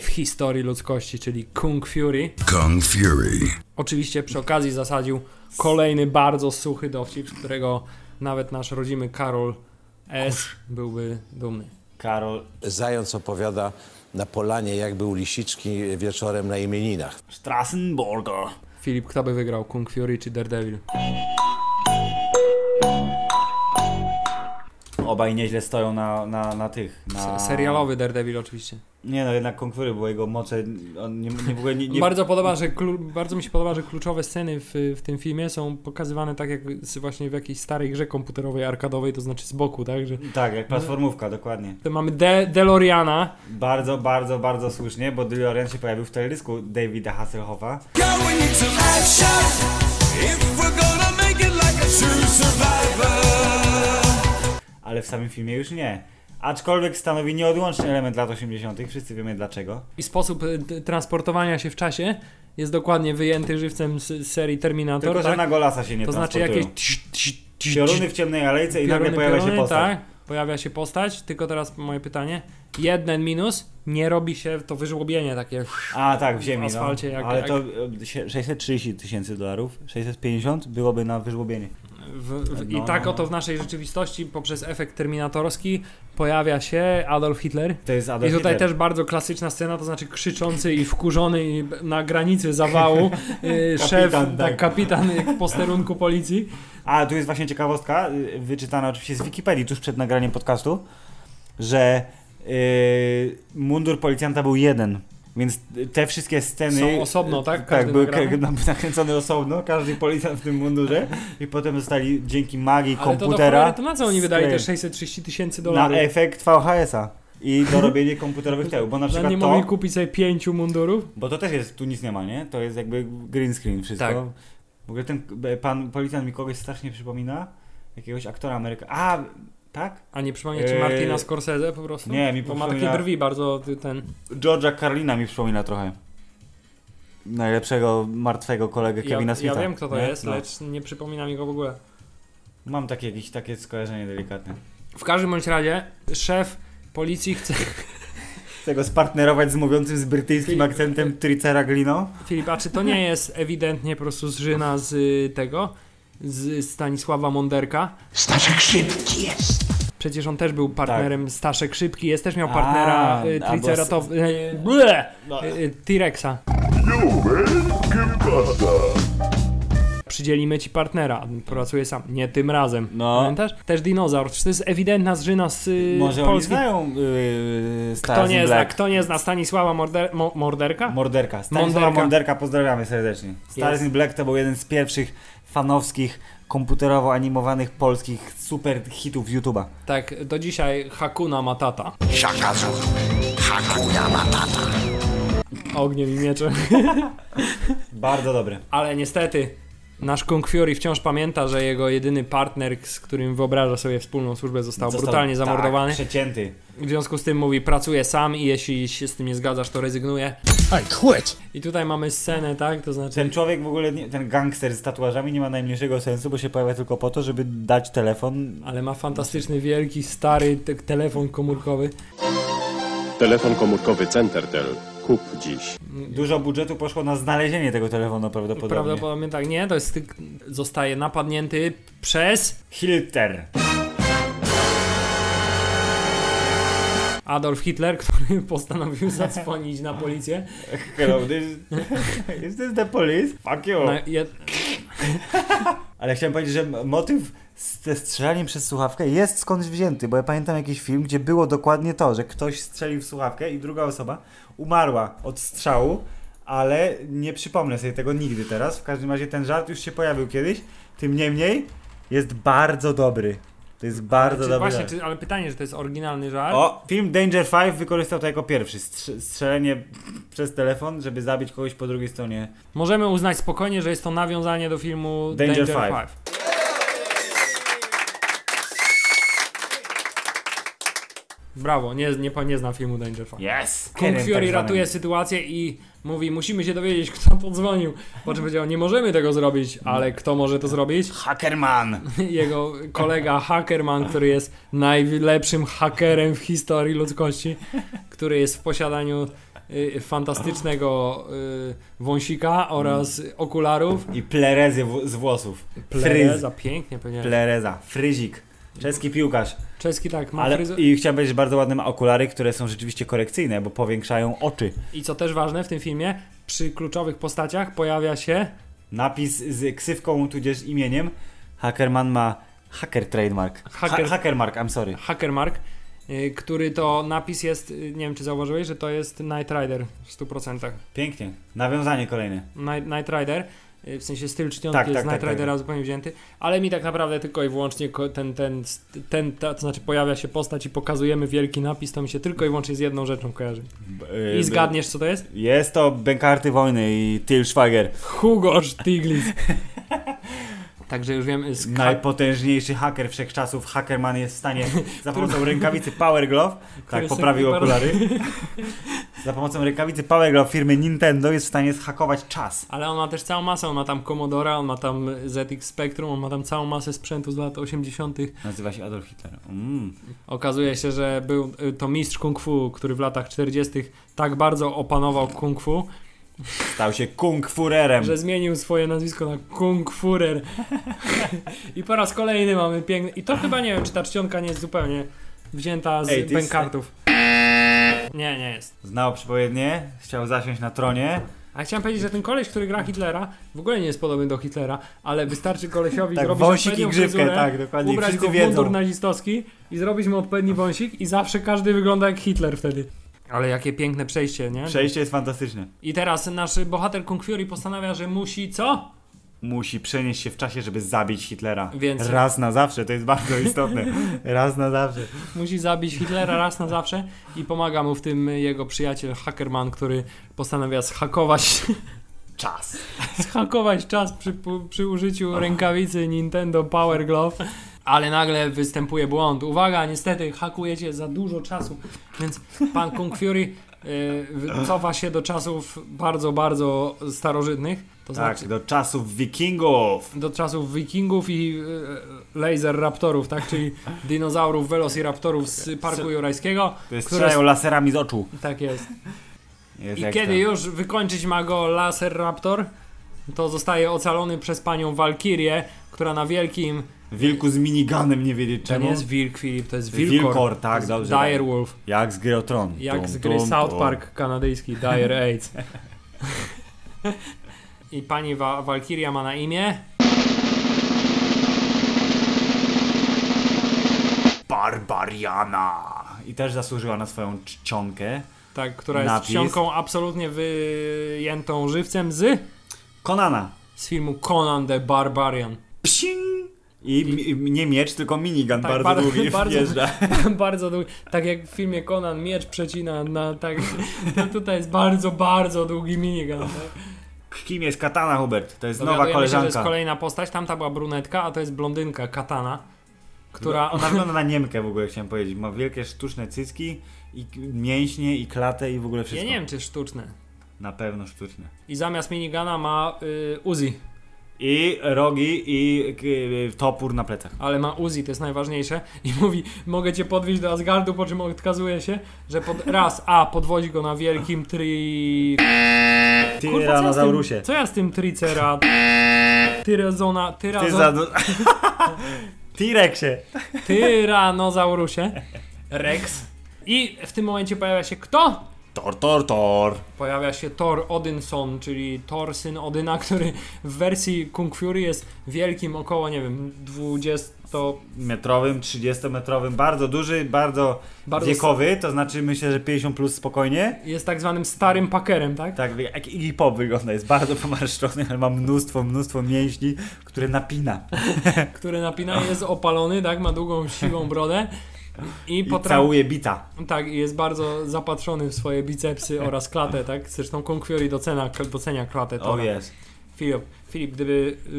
Speaker 2: w historii ludzkości, czyli Kung Fury.
Speaker 3: Kung Fury.
Speaker 2: Oczywiście przy okazji zasadził kolejny bardzo suchy dowcip, z którego nawet nasz rodzimy Karol S. byłby dumny.
Speaker 1: Karol
Speaker 8: Zając opowiada na polanie, jak był lisiczki wieczorem na imieninach.
Speaker 1: Strassenburger.
Speaker 2: Filip, kto by wygrał, Kung Fury czy Daredevil?
Speaker 1: Obaj nieźle stoją na, na, na tych. Na...
Speaker 2: Se- Serialowy Daredevil oczywiście.
Speaker 1: Nie no, jednak konkury, bo jego moce, on nie, nie w ogóle nie... nie...
Speaker 2: Bardzo, podoba, że klu, bardzo mi się podoba, że kluczowe sceny w, w tym filmie są pokazywane tak jak z- właśnie w jakiejś starej grze komputerowej, arkadowej, to znaczy z boku, tak? Że
Speaker 1: Tak, jak platformówka, dokładnie.
Speaker 2: to mamy De DeLoreana,
Speaker 1: Bardzo, bardzo, bardzo słusznie, bo DeLorean się pojawił w teledysku Davida Hasselhoffa. Ale w samym filmie już nie. Aczkolwiek stanowi nieodłączny element lat 80., wszyscy wiemy dlaczego.
Speaker 2: i sposób y, t- transportowania się w czasie jest dokładnie wyjęty żywcem z, z serii Terminator,
Speaker 1: Tylko, że
Speaker 2: tak?
Speaker 1: na golasa się nie
Speaker 2: To znaczy
Speaker 1: transportują.
Speaker 2: jakieś tsz, tsz, tsz, tsz,
Speaker 1: Pioruny w ciemnej alejce i
Speaker 2: pioruny,
Speaker 1: nagle pojawia się
Speaker 2: pioruny,
Speaker 1: postać.
Speaker 2: tak? pojawia się postać, tylko teraz moje pytanie. Jeden minus, nie robi się to wyżłobienie takie.
Speaker 1: A tak, w ziemi.
Speaker 2: W asfalcie
Speaker 1: no.
Speaker 2: jak-
Speaker 1: Ale
Speaker 2: jak-
Speaker 1: to e, sie- 630 tysięcy dolarów, 650 byłoby na wyżłobienie.
Speaker 2: W, w, I
Speaker 1: No,
Speaker 2: tak
Speaker 1: no,
Speaker 2: oto w naszej rzeczywistości poprzez efekt terminatorski pojawia się Adolf Hitler.
Speaker 1: To jest
Speaker 2: I
Speaker 1: Adolf
Speaker 2: tutaj
Speaker 1: Hitler.
Speaker 2: też bardzo klasyczna scena, to znaczy krzyczący i wkurzony i b- na granicy zawału y, szef,
Speaker 1: Kapitan,
Speaker 2: kapitan, tak.
Speaker 1: tak.
Speaker 2: kapitan y, posterunku policji.
Speaker 1: A, tu jest właśnie ciekawostka, y, wyczytana oczywiście z Wikipedii tuż przed nagraniem podcastu, że y, mundur policjanta był jeden. Więc te wszystkie sceny.
Speaker 2: Są osobno, tak?
Speaker 1: tak,
Speaker 2: Każdy
Speaker 1: były
Speaker 2: nagrany?
Speaker 1: k- nam- nakręcone osobno, każdy policjant w tym mundurze. I potem zostali dzięki magii
Speaker 2: Ale to do
Speaker 1: komputera.
Speaker 2: cholery, to na co oni wydali te
Speaker 1: sklejeni.
Speaker 2: 630 tysięcy
Speaker 1: na
Speaker 2: dolarów?
Speaker 1: efekt VHS-a i dorobienie komputerowych teł, bo na
Speaker 2: Że
Speaker 1: przykład
Speaker 2: No nie mogli
Speaker 1: to,
Speaker 2: kupić sobie pięciu mundurów?
Speaker 1: bo to też jest, tu nic nie ma, nie? To jest jakby green screen wszystko.
Speaker 2: Tak.
Speaker 1: W ogóle ten e, pan policjant mi kogoś strasznie przypomina, jakiegoś aktora Ameryka. A, tak?
Speaker 2: A nie przypomnieć ci
Speaker 1: Eee,
Speaker 2: Martina Scorsese po prostu?
Speaker 1: nie, mi
Speaker 2: Bo ma takie
Speaker 1: przypomina-
Speaker 2: brwi bardzo ty- ten...
Speaker 1: George'a Carlina mi przypomina trochę. Najlepszego martwego kolegę
Speaker 2: Ja,
Speaker 1: Kevina
Speaker 2: ja
Speaker 1: Smitha.
Speaker 2: wiem kto to
Speaker 1: nie?
Speaker 2: jest,
Speaker 1: No.
Speaker 2: lecz nie przypomina mi go w ogóle.
Speaker 1: Mam takie, jakieś takie skojarzenie delikatne.
Speaker 2: W każdym bądź razie szef policji chce...
Speaker 1: Chcę go spartnerować z mówiącym z brytyjskim
Speaker 2: Filip-
Speaker 1: akcentem Tricera Glino.
Speaker 2: Filip, a czy to nie jest ewidentnie po prostu zżyna z y, tego, z Stanisława Monderka?
Speaker 3: Staszek szybki jest.
Speaker 2: Przecież on też był partnerem Staszek Szybki, jest też miał partnera
Speaker 1: Tak. A,
Speaker 2: y,
Speaker 1: a bo-
Speaker 2: Triceratow... y, ble,
Speaker 1: No.
Speaker 2: y, y, T-Rexa. Przydzielimy ci partnera, pracuje sam. Nie tym razem.
Speaker 1: No.
Speaker 2: Pamiętasz? Też dinozaur. Czy to jest ewidentna zżyna z y,
Speaker 1: Może oni
Speaker 2: Polski?
Speaker 1: znają yy, Stars
Speaker 2: Kto
Speaker 1: in
Speaker 2: nie zna,
Speaker 1: Black.
Speaker 2: kto nie zna Stanisława Morder... Mo- Morderka?
Speaker 1: Morderka. Stanisława
Speaker 2: Monderka.
Speaker 1: Monderka. pozdrawiamy serdecznie. Stars
Speaker 2: Jest.
Speaker 1: in Black to był jeden z pierwszych fanowskich, komputerowo animowanych polskich super hitów YouTube'a.
Speaker 2: Tak, do dzisiaj Hakuna Matata.
Speaker 3: Szaka Zulu. Hakuna Matata.
Speaker 2: Ogniem i mieczem.
Speaker 1: Bardzo dobry.
Speaker 2: Ale niestety nasz Kung Fury wciąż pamięta, że jego jedyny partner, z którym wyobraża sobie wspólną służbę, został,
Speaker 1: tak,
Speaker 2: brutalnie zamordowany.
Speaker 1: przecięty.
Speaker 2: W związku z tym mówi, pracuję sam i jeśli się z tym nie zgadzasz, to rezygnuję.
Speaker 6: I quit.
Speaker 2: I tutaj mamy scenę, tak? To znaczy...
Speaker 1: Ten człowiek w ogóle, nie, ten gangster z tatuażami nie ma najmniejszego sensu, bo się pojawia tylko po to, żeby dać telefon.
Speaker 2: Ale ma fantastyczny, wielki, stary te telefon komórkowy.
Speaker 9: Telefon komórkowy Centertel. Kup dziś.
Speaker 1: Dużo budżetu poszło na znalezienie tego telefonu prawdopodobnie. Prawdopodobnie.
Speaker 2: Prawdopodobnie tak nie, to jest... tyk- Zostaje napadnięty przez
Speaker 1: Hilter.
Speaker 2: Adolf Hitler, który postanowił zadzwonić na policję.
Speaker 1: Hello, this, is this the police? Fuck you.
Speaker 2: Na, jed...
Speaker 1: Ale chciałem powiedzieć, że m- motyw z ze strzelaniem przez słuchawkę jest skądś wzięty, bo ja pamiętam jakiś film, gdzie było dokładnie to, że ktoś strzelił w słuchawkę i druga osoba umarła od strzału, ale nie przypomnę sobie tego nigdy teraz. W każdym razie ten żart już się pojawił kiedyś, tym niemniej jest bardzo dobry. To jest bardzo
Speaker 2: Czy,
Speaker 1: dobry.
Speaker 2: właśnie,
Speaker 1: żart.
Speaker 2: czy, ale pytanie, że to jest oryginalny żart.
Speaker 1: O, film Danger 5 wykorzystał to jako pierwszy. Strz- strzelenie przez telefon, żeby zabić kogoś po drugiej stronie
Speaker 2: Możemy uznać spokojnie, że jest to nawiązanie do filmu
Speaker 1: Danger
Speaker 2: Danger,
Speaker 1: Five.
Speaker 2: 5. Brawo, nie, nie, po- nie znam filmu Danger 5.
Speaker 1: Yes!
Speaker 2: Kung
Speaker 1: tak
Speaker 2: Fury ratuje sytuację i mówi, musimy się dowiedzieć, kto podzwonił. Po czym powiedział, nie możemy tego zrobić, ale kto może to zrobić?
Speaker 1: Hackerman!
Speaker 2: Jego kolega Hackerman, który jest najlepszym hakerem w historii ludzkości, który jest w posiadaniu y, fantastycznego y, wąsika oraz okularów.
Speaker 1: I plerezy w- z włosów. Fryz.
Speaker 2: Plereza, pięknie powiedziałem.
Speaker 1: Plereza. Fryzik. Czeski piłkarz.
Speaker 2: Czeski tak, ma
Speaker 1: Ale
Speaker 2: fryzę.
Speaker 1: i chciałem powiedzieć, że bardzo ładne ma okulary, które są rzeczywiście korekcyjne, bo powiększają oczy.
Speaker 2: I co też ważne w tym filmie, przy kluczowych postaciach pojawia się
Speaker 1: Napis z ksywką tudzież imieniem. Hackerman ma hacker trademark.
Speaker 2: Hacker-
Speaker 1: Ha- hackermark, I'm sorry.
Speaker 2: Hackermark, y, który to napis jest, y, nie wiem czy zauważyłeś, że to jest Knight Rider w 100%.
Speaker 1: Pięknie. Nawiązanie kolejne.
Speaker 2: Knight, Knight Rider, y, w sensie styl czcionki
Speaker 1: Tak,
Speaker 2: jest
Speaker 1: tak,
Speaker 2: Knight
Speaker 1: tak,
Speaker 2: Ridera zupełnie wzięty, ale mi tak naprawdę tylko i wyłącznie ko- ten, ten, ten, ta, to znaczy pojawia się postać i pokazujemy wielki napis, to mi się tylko i wyłącznie z jedną rzeczą kojarzy.
Speaker 1: Yy,
Speaker 2: I zgadniesz co to jest?
Speaker 1: Jest to Bękarty Wojny i Till Schwager.
Speaker 2: Hugo Stiglitz. Także już wiem, z ha-
Speaker 1: Najpotężniejszy haker wszechczasów. Hackerman jest w stanie za pomocą rękawicy Power Glove, tak,
Speaker 2: sobie
Speaker 1: poprawił
Speaker 2: wyparł-
Speaker 1: okulary. za pomocą rękawicy Powerglove firmy Nintendo jest w stanie zhakować czas.
Speaker 2: Ale on ma też całą masę, on ma tam Commodora, on ma tam ZX Spectrum, on ma tam całą masę sprzętu z lat 80.
Speaker 1: Nazywa się Adolf Hitler. Mm.
Speaker 2: Okazuje się, że był y, to mistrz kung fu, który w latach 40. tak bardzo opanował kung fu,
Speaker 1: Stał się Kung Furerem.
Speaker 2: że zmienił swoje nazwisko na Kung Furer. I po raz kolejny mamy piękny. I to chyba nie wiem, czy ta czcionka nie jest zupełnie wzięta z
Speaker 1: Ej, ty jest-
Speaker 2: bankartów. Nie, nie jest.
Speaker 1: Znał przepowiednie, chciał zasiąść na tronie.
Speaker 2: A chciałem powiedzieć, że ten koleś, który gra Hitlera, w ogóle nie jest podobny do Hitlera, ale wystarczy kolesiowi
Speaker 1: Tak,
Speaker 2: zrobić
Speaker 1: wąsik
Speaker 2: odpowiednią
Speaker 1: i grzywkę,
Speaker 2: fryzurę,
Speaker 1: tak, dokładnie,
Speaker 2: ubrać
Speaker 1: wszyscy
Speaker 2: go w
Speaker 1: wiedzą. No.
Speaker 2: mundur nazistowski i zrobić mu odpowiedni wąsik i zawsze każdy wygląda jak Hitler wtedy. Ale jakie piękne przejście, nie?
Speaker 1: Przejście jest fantastyczne.
Speaker 2: I teraz nasz bohater Kung Fury postanawia, że musi co?
Speaker 1: Musi przenieść się w czasie, żeby zabić Hitlera.
Speaker 2: Więc-
Speaker 1: Raz na zawsze, to jest bardzo istotne. Raz na zawsze.
Speaker 2: Musi zabić Hitlera raz na zawsze i pomaga mu w tym jego przyjaciel Hackerman, który postanawia zhakować
Speaker 1: Czas. Tak,
Speaker 2: zhakować czas przy, pu- przy użyciu rękawicy Nintendo Power Glove, ale nagle występuje błąd. Uwaga, niestety hakujecie za dużo czasu, więc pan Kung Fury y, w- cofa się do czasów bardzo, bardzo starożytnych, to
Speaker 1: Tak,
Speaker 2: znaczy
Speaker 1: do czasów wikingów.
Speaker 2: do czasów wikingów i y, laser raptorów, tak, czyli dinozaurów, velociraptorów z Parku Jurajskiego,
Speaker 1: Które
Speaker 2: które...
Speaker 1: strzelają laserami z oczu.
Speaker 2: Tak jest.
Speaker 1: Jest
Speaker 2: I
Speaker 1: jak
Speaker 2: kiedy
Speaker 1: to.
Speaker 2: już wykończyć ma go laser raptor, to zostaje ocalony przez panią Walkirię, która na wielkim.
Speaker 1: Wilku z miniganem nie wiedzieć
Speaker 2: To
Speaker 1: czemu.
Speaker 2: nie jest wilk, Filip, to jest wilkor.
Speaker 1: Wilkor, tak,
Speaker 2: To jest
Speaker 1: dobrze,
Speaker 2: Dire Wolf,
Speaker 1: Jak z gry o Tron.
Speaker 2: jak
Speaker 1: Tum,
Speaker 2: z gry
Speaker 1: tum,
Speaker 2: South
Speaker 1: tum.
Speaker 2: Park kanadyjski, Dire Aids. I pani Wa- Walkiria ma na imię.
Speaker 1: Barbariana. I też zasłużyła na swoją czcionkę.
Speaker 2: Tak, która jest
Speaker 1: Napis.
Speaker 2: czcionką absolutnie wyjętą żywcem z,
Speaker 1: Konana.
Speaker 2: z filmu Conan the Barbarian.
Speaker 1: Psing! I, mi- i nie miecz, tylko minigun
Speaker 2: Tak,
Speaker 1: bardzo
Speaker 2: bar-
Speaker 1: długi
Speaker 2: bardzo-
Speaker 1: wjeżdża.
Speaker 2: bardzo długi. Tak jak w filmie Conan miecz przecina na tak. To tutaj jest bardzo, bardzo długi minigun. Tak?
Speaker 1: Kim jest Katana, Hubert? To jest nowa
Speaker 2: Dowiadujemy Się, że
Speaker 1: koleżanka.
Speaker 2: jest kolejna postać, tamta była brunetka, a to jest blondynka Katana, która.
Speaker 1: No, Ona wygląda na Niemkę w ogóle, chciałem powiedzieć. Ma wielkie sztuczne cycki, i k- mięśnie, i klatę, i w ogóle
Speaker 2: Ja
Speaker 1: wszystko.
Speaker 2: nie wiem, czy sztuczne.
Speaker 1: Na pewno sztuczne.
Speaker 2: I zamiast minigana ma y, Uzi,
Speaker 1: I rogi, i k- y, topór na plecach.
Speaker 2: ale ma Uzi, to jest najważniejsze. I mówi, mogę cię podwieźć do Asgardu, po czym odkazuje się, że pod, raz, a podwozi go na wielkim tri...
Speaker 1: Tyranozaurusie.
Speaker 2: Co ja z tym tricera... Tyrazona...
Speaker 1: Ty
Speaker 2: Tyrazona...
Speaker 1: za... T-Rexie.
Speaker 2: Tyranozaurusie Rex. I w tym momencie pojawia się kto?
Speaker 1: Tor, tor, tor.
Speaker 2: Pojawia się Thor Odinson, czyli Thor syn Odyna, który w wersji Kung Fury jest wielkim około, nie wiem, 20
Speaker 1: Metrowym, 30-metrowym, bardzo duży, bardzo,
Speaker 2: Bardzo
Speaker 1: wiekowy, to znaczy myślę, że 50 plus spokojnie.
Speaker 2: jest tak zwanym starym pakerem, tak?
Speaker 1: Tak, jak Iggy Pop wygląda, jest bardzo pomarszczony, ale ma mnóstwo, mnóstwo mięśni, które napina.
Speaker 2: Który napina jest opalony, tak? Ma długą siwą brodę i
Speaker 1: I
Speaker 2: potrafi
Speaker 1: całuje bita.
Speaker 2: tak, i jest bardzo zapatrzony w swoje bicepsy oraz klatę, tak? Zresztą Kung Fury docena, docenia klatę
Speaker 1: O
Speaker 2: Thora.
Speaker 1: jest.
Speaker 2: Filip, Filip, gdyby y,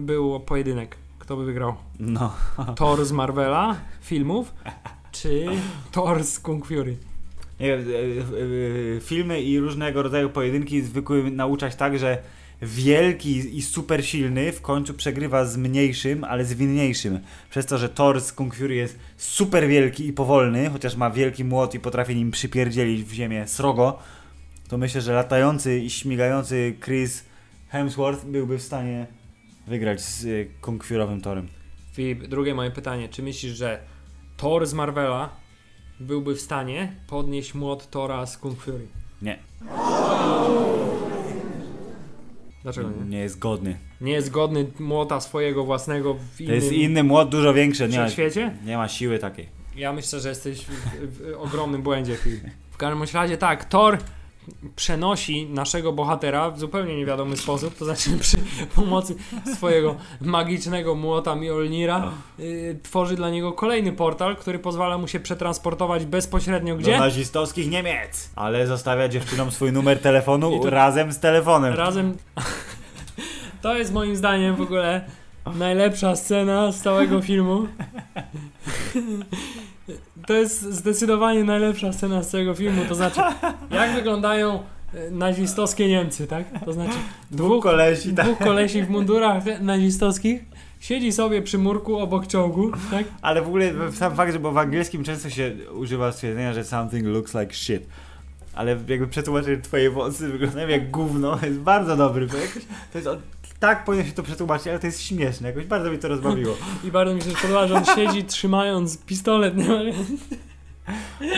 Speaker 2: był pojedynek, kto by wygrał?
Speaker 1: No.
Speaker 2: Thor z Marvela filmów czy Thor z Kung Fury?
Speaker 1: Nie wiem, e, e, e, filmy i różnego rodzaju pojedynki zwykły nauczać tak, że wielki i super silny w końcu przegrywa z mniejszym, ale zwinniejszym. Przez to, że Thor z Kung Fury jest super wielki i powolny, chociaż ma wielki młot i potrafi nim przypierdzielić w ziemię srogo, to myślę, że latający i śmigający Chris Hemsworth byłby w stanie wygrać z e, Kung Furowym Torem.
Speaker 2: Filip, drugie moje pytanie. Czy myślisz, że Thor z Marvela byłby w stanie podnieść młot Thora z Kung Fury?
Speaker 1: Nie,
Speaker 2: Dlaczego nie?
Speaker 1: nie jest godny.
Speaker 2: Nie jest godny młota swojego własnego w
Speaker 1: To jest
Speaker 2: innym
Speaker 1: inny młot, dużo większy. Nie, ma-
Speaker 2: wszechświecie?
Speaker 1: nie ma siły takiej.
Speaker 2: Ja myślę, że jesteś w, w ogromnym błędzie, Filip. W każdym razie tak, Thor przenosi naszego bohatera w zupełnie niewiadomy sposób, to znaczy przy pomocy swojego magicznego młota Mjolnira y, tworzy dla niego kolejny portal, który pozwala mu się przetransportować bezpośrednio
Speaker 1: do
Speaker 2: gdzie?
Speaker 1: nazistowskich Niemiec. Ale zostawia dziewczynom swój numer telefonu
Speaker 2: I tu-
Speaker 1: razem z telefonem.
Speaker 2: Razem... To jest moim zdaniem w ogóle najlepsza scena z całego filmu. To jest zdecydowanie najlepsza scena z całego filmu, to znaczy, jak wyglądają e, nazistowskie Niemcy, tak? To znaczy, dwóch,
Speaker 1: kolesi, tak.
Speaker 2: dwóch kolesi w mundurach nazistowskich siedzi sobie przy murku obok ciągu, tak?
Speaker 1: Ale w ogóle w- sam fakt, że bo w angielskim często się używa stwierdzenia, że something looks like shit. Ale jakby przetłumaczyć twoje włosy wyglądają jak gówno, jest bardzo dobry. Bo jakoś, to jest, od- tak powinno się to przetłumaczyć, ale to jest śmieszne, jakoś bardzo mi to rozbawiło.
Speaker 2: I bardzo mi się podoba, że on siedzi trzymając pistolet, nie?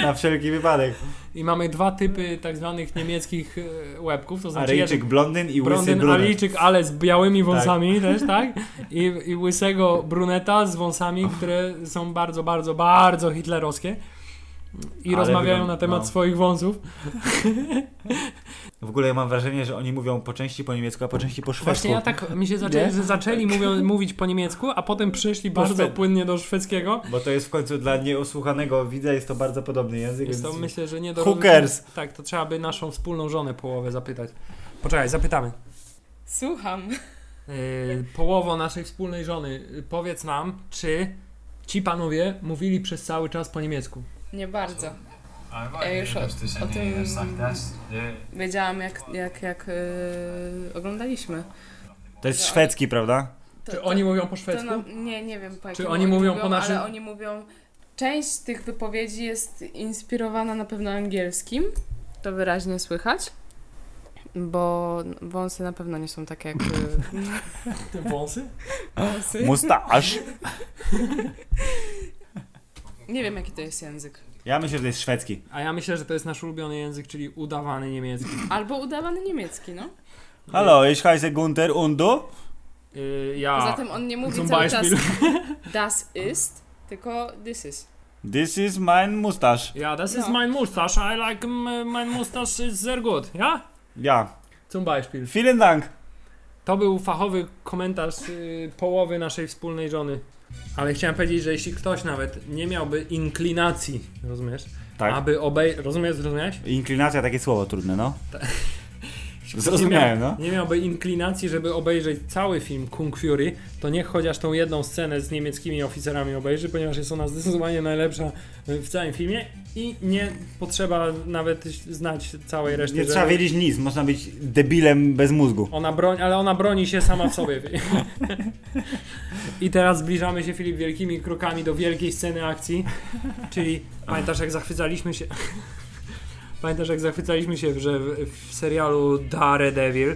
Speaker 1: Na wszelki wypadek.
Speaker 2: I mamy dwa typy tak zwanych niemieckich e, łebków, to znaczy
Speaker 1: Aryjczyk blondyn i łysy
Speaker 2: Brondyn
Speaker 1: brunet.
Speaker 2: Alijczyk, ale z białymi wąsami też, tak? I, I łysego bruneta z wąsami, które są bardzo, bardzo, bardzo hitlerowskie. I
Speaker 1: Ale
Speaker 2: rozmawiają
Speaker 1: wygląd-
Speaker 2: na temat
Speaker 1: no.
Speaker 2: swoich wąsów.
Speaker 1: W ogóle ja mam wrażenie, że oni mówią po części po niemiecku, a po części po szwedzku.
Speaker 2: Właśnie ja tak mi się zaczęli, że zaczęli mówią, mówić po niemiecku, a potem przyszli bardzo
Speaker 1: Szwed-
Speaker 2: płynnie do szwedzkiego.
Speaker 1: Bo to jest w końcu dla nieosłuchanego widza jest to bardzo podobny język.
Speaker 2: Jest to
Speaker 1: więc...
Speaker 2: myślę, że nie do
Speaker 1: Hookers.
Speaker 2: Tak, to trzeba by naszą wspólną żonę połowę zapytać. Poczekaj, zapytamy.
Speaker 10: Słucham.
Speaker 2: Yy, połowo naszej wspólnej żony, yy, powiedz nam, czy ci panowie mówili przez cały czas po niemiecku?
Speaker 10: Nie bardzo. Ja już o, o tym wiedziałam, jak, jak, jak yy, oglądaliśmy.
Speaker 1: To jest szwedzki, prawda?
Speaker 10: To,
Speaker 2: Czy oni mówią po szwedzku?
Speaker 10: To na, nie, nie wiem po jakim
Speaker 2: oni mówią po naszym-
Speaker 10: Ale oni mówią... Część tych wypowiedzi jest inspirowana na pewno angielskim. To wyraźnie słychać. Bo wąsy na pewno nie są takie jak y,
Speaker 2: Te wąsy?
Speaker 10: wąsy.
Speaker 1: Mustaż!
Speaker 10: Nie wiem, jaki to jest język.
Speaker 1: Ja myślę, że to jest szwedzki.
Speaker 2: A ja myślę, że to jest nasz ulubiony język, czyli udawany niemiecki.
Speaker 10: Albo udawany niemiecki, no.
Speaker 1: Hallo, ich heiße Gunther und du?
Speaker 2: Yy, ja.
Speaker 10: Poza tym on nie mówi
Speaker 2: Zum
Speaker 10: cały czas
Speaker 2: Beispiel.
Speaker 10: das ist, tylko this is.
Speaker 1: This is mein mustache.
Speaker 2: Ja, das ist
Speaker 10: No.
Speaker 2: mein Mustache. I like m- mein Mustache is sehr gut. Ja?
Speaker 1: Ja.
Speaker 2: Zum Beispiel.
Speaker 1: Vielen Dank.
Speaker 2: To był fachowy komentarz y, połowy naszej wspólnej żony. Ale chciałem powiedzieć, że jeśli ktoś nawet nie miałby inklinacji, rozumiesz?
Speaker 1: Tak.
Speaker 2: Aby obej... Rozumiesz, zrozumiałeś?
Speaker 1: Inklinacja, takie słowo trudne, no.
Speaker 2: nie,
Speaker 1: Zrozumiałem,
Speaker 2: miał-
Speaker 1: no.
Speaker 2: nie miałby inklinacji, żeby obejrzeć cały film Kung Fury, to niech chociaż tą jedną scenę z niemieckimi oficerami obejrzy, ponieważ jest ona zdecydowanie najlepsza y, w całym filmie i nie potrzeba nawet znać całej reszty.
Speaker 1: Nie
Speaker 2: żeby-
Speaker 1: trzeba wiedzieć nic, można być debilem bez mózgu.
Speaker 2: Ona broń, ale ona broni się sama w sobie. I teraz zbliżamy się, Filip, wielkimi krokami do wielkiej sceny akcji. Czyli pamiętasz, jak zachwycaliśmy się. Pamiętasz, jak zachwycaliśmy się, że w, w serialu Daredevil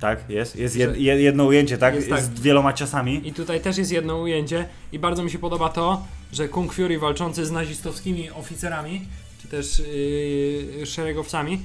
Speaker 1: Tak, jest, jest jed, jed- jedno ujęcie, tak?
Speaker 2: Jest
Speaker 1: Jest,
Speaker 2: tak.
Speaker 1: z wieloma ciosami.
Speaker 2: I tutaj też jest jedno ujęcie i bardzo mi się podoba to, że Kung Fury walczący z nazistowskimi oficerami, czy też yy, szeregowcami,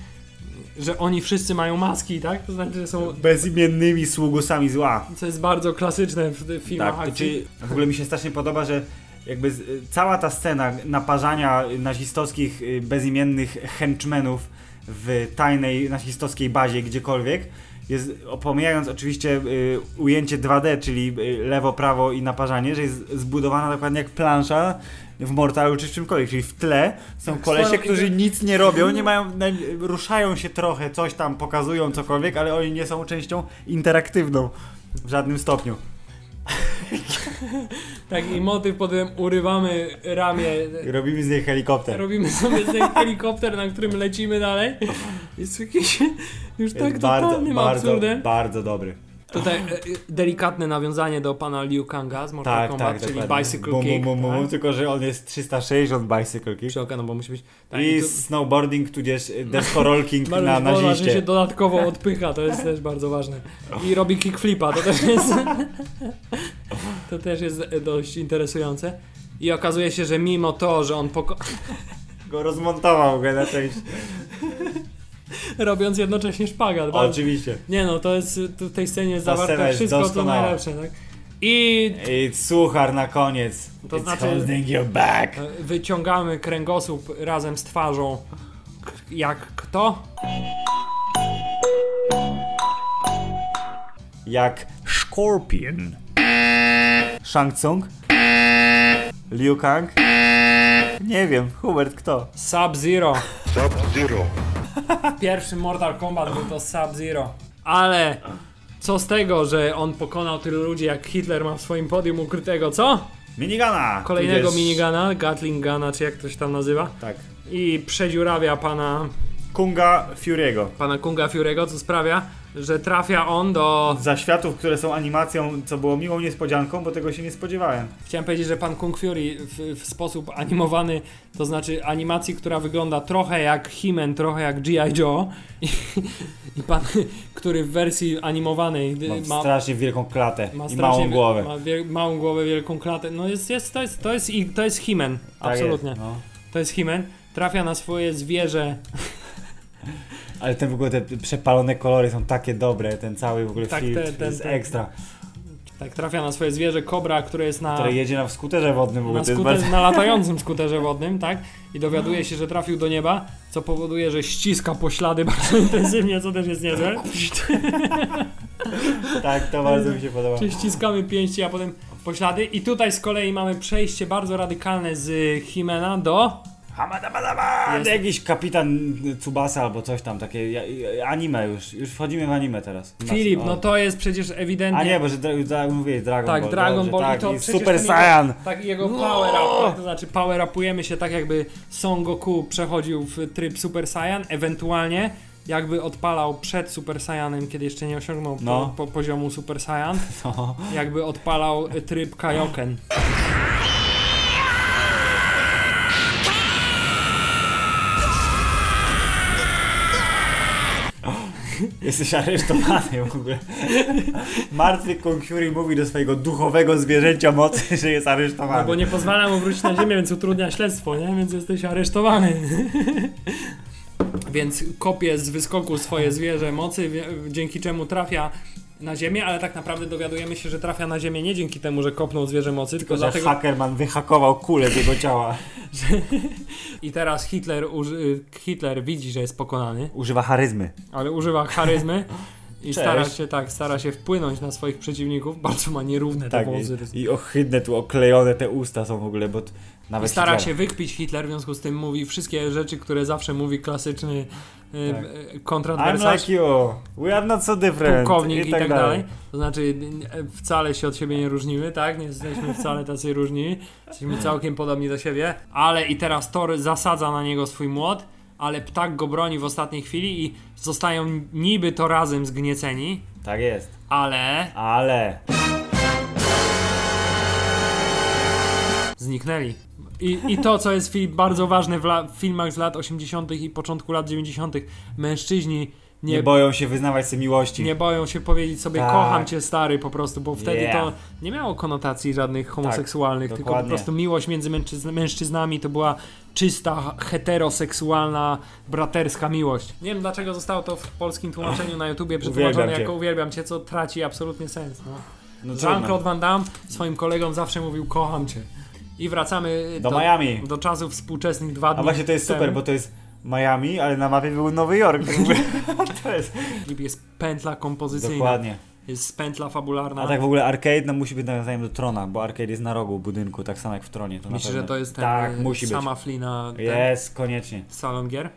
Speaker 2: że oni wszyscy mają maski, tak? To znaczy, że są...
Speaker 1: Bezimiennymi sługusami zła.
Speaker 2: Co jest bardzo klasyczne w w filmach
Speaker 1: Tak, to
Speaker 2: akcji.
Speaker 1: czy w ogóle mi się strasznie podoba, że jakby z, y, cała ta scena naparzania nazistowskich y, bezimiennych henchmenów w tajnej nazistowskiej bazie gdziekolwiek jest, pomijając oczywiście y, ujęcie 2D, czyli y, lewo, prawo i naparzanie, że jest zbudowana dokładnie jak plansza w Mortalu czy w czymkolwiek, czyli w tle są kolesie,
Speaker 2: stoją i
Speaker 1: którzy
Speaker 2: tak-
Speaker 1: nic nie robią, nie mają, naj- ruszają się trochę, coś tam pokazują, cokolwiek, ale oni nie są częścią interaktywną w żadnym stopniu.
Speaker 2: Tak, i motyw potem urywamy ramię,
Speaker 1: I Robimy z niej helikopter.
Speaker 2: robimy sobie ten helikopter, na którym lecimy dalej. Jest jakiś już
Speaker 1: Jest
Speaker 2: tak totalnym
Speaker 1: bardzo,
Speaker 2: absurdem.
Speaker 1: bardzo dobry.
Speaker 2: Tutaj e, e, delikatne nawiązanie do pana Liu Kanga z Mortal
Speaker 1: Tak,
Speaker 2: Kombat,
Speaker 1: tak,
Speaker 2: czyli
Speaker 1: dokładnie.
Speaker 2: Bicycle
Speaker 1: Bum,
Speaker 2: Kick.
Speaker 1: bum, bum,
Speaker 2: tak?
Speaker 1: bum, Tylko, że on jest 360 bicycle kick.
Speaker 2: Przy okazji, no bo musi być. Tak,
Speaker 1: I
Speaker 2: tu-
Speaker 1: snowboarding tudzież y, deskorolking
Speaker 2: Mariusz
Speaker 1: na
Speaker 2: Wola, że się
Speaker 1: naziście.
Speaker 2: dodatkowo odpycha, to jest też bardzo ważne. I robi kickflipa, to też jest. To też jest e, dość interesujące. I okazuje się, że mimo to, że on poko-
Speaker 1: Go rozmontował go na część.
Speaker 2: robiąc jednocześnie szpagat, bardzo
Speaker 1: Oczywiście.
Speaker 2: Nie no, to jest tu w tej scenie jest
Speaker 1: scena
Speaker 2: zawarte
Speaker 1: jest
Speaker 2: wszystko, co
Speaker 1: doskonała.
Speaker 2: najlepsze, tak? I
Speaker 1: I suchar na koniec.
Speaker 2: To
Speaker 1: It's
Speaker 2: znaczy-
Speaker 1: holding you back.
Speaker 2: e, wyciągamy kręgosłup razem z twarzą. K- Jak kto?
Speaker 1: Jak Scorpion. Shang Tsung? Liu Kang? Nie wiem, Hubert kto?
Speaker 2: Sub-Zero. Sub-Zero. Pierwszy Mortal Kombat był to Sub-Zero. Ale co z tego, że on pokonał tylu ludzi jak Hitler ma w swoim podium ukrytego, co?
Speaker 1: Minigana!
Speaker 2: Kolejnego
Speaker 1: Idziesz-
Speaker 2: minigana, Gatling Gana, czy jak to się tam nazywa.
Speaker 1: Tak.
Speaker 2: I przedziurawia pana,
Speaker 1: Kunga Fury'ego.
Speaker 2: pana Kunga Fiurego, co sprawia, że trafia on do...
Speaker 1: Zaświatów, które są animacją, co było miłą niespodzianką, bo tego się nie spodziewałem.
Speaker 2: Chciałem powiedzieć, że pan Kung Fury w, w sposób animowany, to znaczy animacji, która wygląda trochę jak he trochę jak G.I. Joe i, i pan, który w wersji animowanej gdy
Speaker 1: Mam
Speaker 2: ma,
Speaker 1: strasznie wielką klatę
Speaker 2: ma
Speaker 1: i
Speaker 2: strasznie
Speaker 1: małą
Speaker 2: wie-
Speaker 1: głowę.
Speaker 2: Ma wie, małą głowę, wielką klatę. No jest, jest, to jest, to jest, i- to jest he
Speaker 1: Tak
Speaker 2: absolutnie.
Speaker 1: Jest, no.
Speaker 2: To jest he Trafia na swoje zwierzę
Speaker 1: Ale ten w ogóle te przepalone kolory są takie dobre, ten cały w ogóle
Speaker 2: Tak,
Speaker 1: film
Speaker 2: ten- ten-
Speaker 1: jest
Speaker 2: ten-
Speaker 1: ekstra.
Speaker 2: Tak, trafia na swoje zwierzę kobra, które jest na,
Speaker 1: Które jedzie na skuterze wodnym w ogóle,
Speaker 2: na,
Speaker 1: No to jest
Speaker 2: skuter,
Speaker 1: bardzo...
Speaker 2: na latającym skuterze wodnym, tak? I dowiaduje się, że trafił do nieba, co powoduje, że ściska poślady bardzo intensywnie, co też jest niezłe.
Speaker 1: Tak, to bardzo mi się podoba.
Speaker 2: Czyli ściskamy pięści, a potem poślady. I tutaj z kolei mamy przejście bardzo radykalne z Himena do...
Speaker 1: Hamadabadaba!
Speaker 2: Jest.
Speaker 1: Jakiś kapitan Tsubasa albo coś tam, takie ja- ja- anime już, już wchodzimy w anime teraz.
Speaker 2: Filip,
Speaker 1: O.
Speaker 2: no to jest przecież
Speaker 1: Tak, A nie,
Speaker 2: ewidentnie...
Speaker 1: bo że dra- dra- mówię, Dragon
Speaker 2: Tak,
Speaker 1: Ball.
Speaker 2: Dragon
Speaker 1: dobrze,
Speaker 2: Ball
Speaker 1: tak,
Speaker 2: i to
Speaker 1: i
Speaker 2: przecież
Speaker 1: Super
Speaker 2: ten
Speaker 1: Saiyan! No!
Speaker 2: Jego, tak, jego power up, tak, to znaczy power upujemy się tak jakby Son Goku przechodził w tryb Super Saiyan, ewentualnie jakby odpalał przed Super Saiyanem, kiedy jeszcze nie osiągnął
Speaker 1: No.
Speaker 2: po, po poziomu Super Saiyan,
Speaker 1: No.
Speaker 2: jakby odpalał e, tryb Kaioken.
Speaker 1: Jesteś aresztowany w ogóle. Martwy Kung Fury mówi do swojego duchowego zwierzęcia mocy, że jest aresztowany.
Speaker 2: No bo nie pozwala mu wrócić na ziemię, więc utrudnia śledztwo, nie? Więc jesteś aresztowany. więc kopie z wyskoku swoje zwierzę mocy, wie- dzięki czemu trafia na ziemię, ale tak naprawdę dowiadujemy się, że trafia na ziemię nie dzięki temu, że kopnął zwierzę mocy, tylko
Speaker 1: Że
Speaker 2: dlatego...
Speaker 1: Hackerman wyhakował kulę z jego ciała.
Speaker 2: I teraz Hitler, uży... Hitler widzi, że jest pokonany,
Speaker 1: Używa charyzmy.
Speaker 2: ale używa charyzmy i
Speaker 1: Cześć.
Speaker 2: stara się tak, stara się wpłynąć na swoich przeciwników. Bardzo ma nierówne
Speaker 1: Tak,
Speaker 2: te wąsy.
Speaker 1: i, i ohydne tu oklejone te usta są w ogóle, bo t- nawet
Speaker 2: Stara
Speaker 1: Hitler-
Speaker 2: się wykpić Hitler, w związku z tym mówi wszystkie rzeczy, które zawsze mówi klasyczny y,
Speaker 1: Tak.
Speaker 2: y,
Speaker 1: I'm
Speaker 2: kontrawersarz,
Speaker 1: like you, we are not so different.
Speaker 2: pułkownik i tak dalej. To znaczy y, wcale się od siebie nie różnimy, tak? Nie jesteśmy wcale tacy różni. Jesteśmy całkiem podobni do siebie. Ale i teraz Thor zasadza na niego swój młot, ale ptak go broni w ostatniej chwili i zostają niby to razem zgnieceni,
Speaker 1: Tak jest,
Speaker 2: ale
Speaker 1: ale
Speaker 2: zniknęli. I, I to, co jest Filip, bardzo ważne w, la, w filmach z lat 80. i początku lat 90., mężczyźni
Speaker 1: nie,
Speaker 2: nie,
Speaker 1: boją się wyznawać sobie miłości.
Speaker 2: nie boją się powiedzieć sobie
Speaker 1: Tak.
Speaker 2: kocham cię stary po prostu, bo wtedy
Speaker 1: Yeah. Tak,
Speaker 2: to nie miało konotacji żadnych homoseksualnych, tylko po
Speaker 1: dokładnie.
Speaker 2: prostu miłość między mężczyzn, mężczyznami to była czysta, heteroseksualna, braterska miłość. Nie wiem dlaczego zostało to w polskim tłumaczeniu na YouTubie przetłumaczone
Speaker 1: Uwielbiam cię.
Speaker 2: jako uwielbiam cię, co traci absolutnie sens. No.
Speaker 1: no,
Speaker 2: Jean-Claude Van Damme swoim kolegom zawsze mówił kocham cię. I wracamy e,
Speaker 1: Do Miami.
Speaker 2: do czasów współczesnych dwa dni
Speaker 1: A właśnie to jest
Speaker 2: temu.
Speaker 1: super, bo to jest Miami, ale na mapie był Nowy Jork. to jest
Speaker 2: Jest pętla kompozycyjna,
Speaker 1: dokładnie.
Speaker 2: jest pętla fabularna.
Speaker 1: A tak w ogóle arcade no, musi być nawiązaniem do Trona, bo arcade jest na rogu budynku, tak samo jak w Tronie. To na
Speaker 2: Myślę,
Speaker 1: pewno.
Speaker 2: że to jest ten
Speaker 1: Tak,
Speaker 2: y,
Speaker 1: musi
Speaker 2: sama flina
Speaker 1: być.
Speaker 2: ten
Speaker 1: Jest, koniecznie.
Speaker 2: salon gier.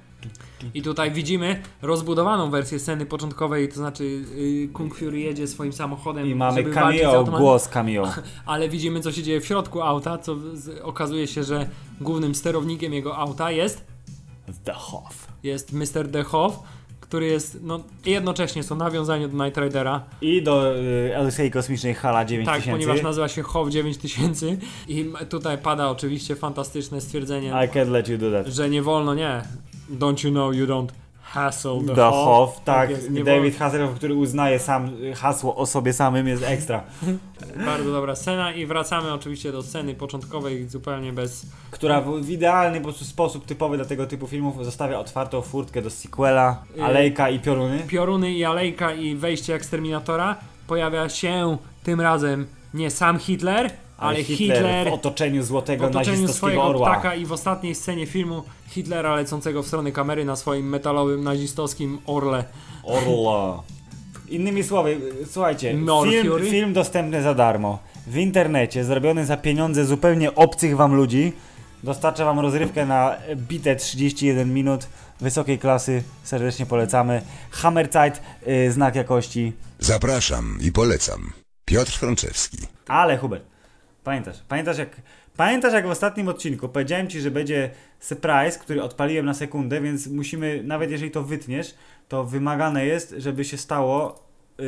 Speaker 2: I tutaj widzimy rozbudowaną wersję sceny początkowej, to znaczy y, Kung Fury jedzie swoim samochodem,
Speaker 1: I mamy
Speaker 2: żeby walczyć z
Speaker 1: cameo,
Speaker 2: automatem.
Speaker 1: głos cameo.
Speaker 2: ale widzimy co się dzieje w środku auta, co z, okazuje się, że głównym sterownikiem jego auta jest
Speaker 1: The Hoff.
Speaker 2: jest Mr. The Hoff, który jest, no jednocześnie są nawiązanie do Knight Ridera,
Speaker 1: I do y, Elysei Kosmicznej Hala 9000.
Speaker 2: tak, ponieważ nazywa się Hoff 9000 i m- tutaj pada oczywiście fantastyczne stwierdzenie,
Speaker 1: I can't let you do that.
Speaker 2: że nie wolno, nie, don't you know you don't hassle the,
Speaker 1: The Hoff, tak.
Speaker 2: jest, nie
Speaker 1: David Hasselhoff, który uznaje sam y, hasło o sobie samym jest ekstra.
Speaker 2: wolno, bardzo dobra scena i wracamy oczywiście do sceny początkowej zupełnie bez,
Speaker 1: Która w, w idealny po prostu sposób typowy dla tego typu filmów zostawia otwartą furtkę do sequela,
Speaker 2: Y,
Speaker 1: Alejka i Pioruny.
Speaker 2: pioruny i alejka i wejście eksterminatora pojawia się tym razem nie sam Hitler, ale Hitler,
Speaker 1: w otoczeniu
Speaker 2: w
Speaker 1: złotego
Speaker 2: otoczeniu
Speaker 1: nazistowskiego
Speaker 2: swojego
Speaker 1: orła.
Speaker 2: ptaka i w ostatniej scenie filmu Hitlera lecącego w stronę kamery na swoim metalowym nazistowskim orle.
Speaker 1: Orla. Innymi słowy, y, słuchajcie,
Speaker 2: Nor
Speaker 1: film,
Speaker 2: Fury?
Speaker 1: film dostępny za darmo. W internecie, zrobiony za pieniądze zupełnie obcych wam ludzi, dostarcza wam rozrywkę na bite 31 minut wysokiej klasy. Serdecznie polecamy. Hammer Zeit, y, znak jakości.
Speaker 11: Zapraszam i polecam. Piotr Frączewski.
Speaker 1: Ale Hubert, Pamiętasz? Pamiętasz jak, pamiętasz jak w ostatnim odcinku powiedziałem ci, że będzie surprise, który odpaliłem na sekundę, więc musimy, nawet jeżeli to wytniesz, to wymagane jest, żeby się stało yy,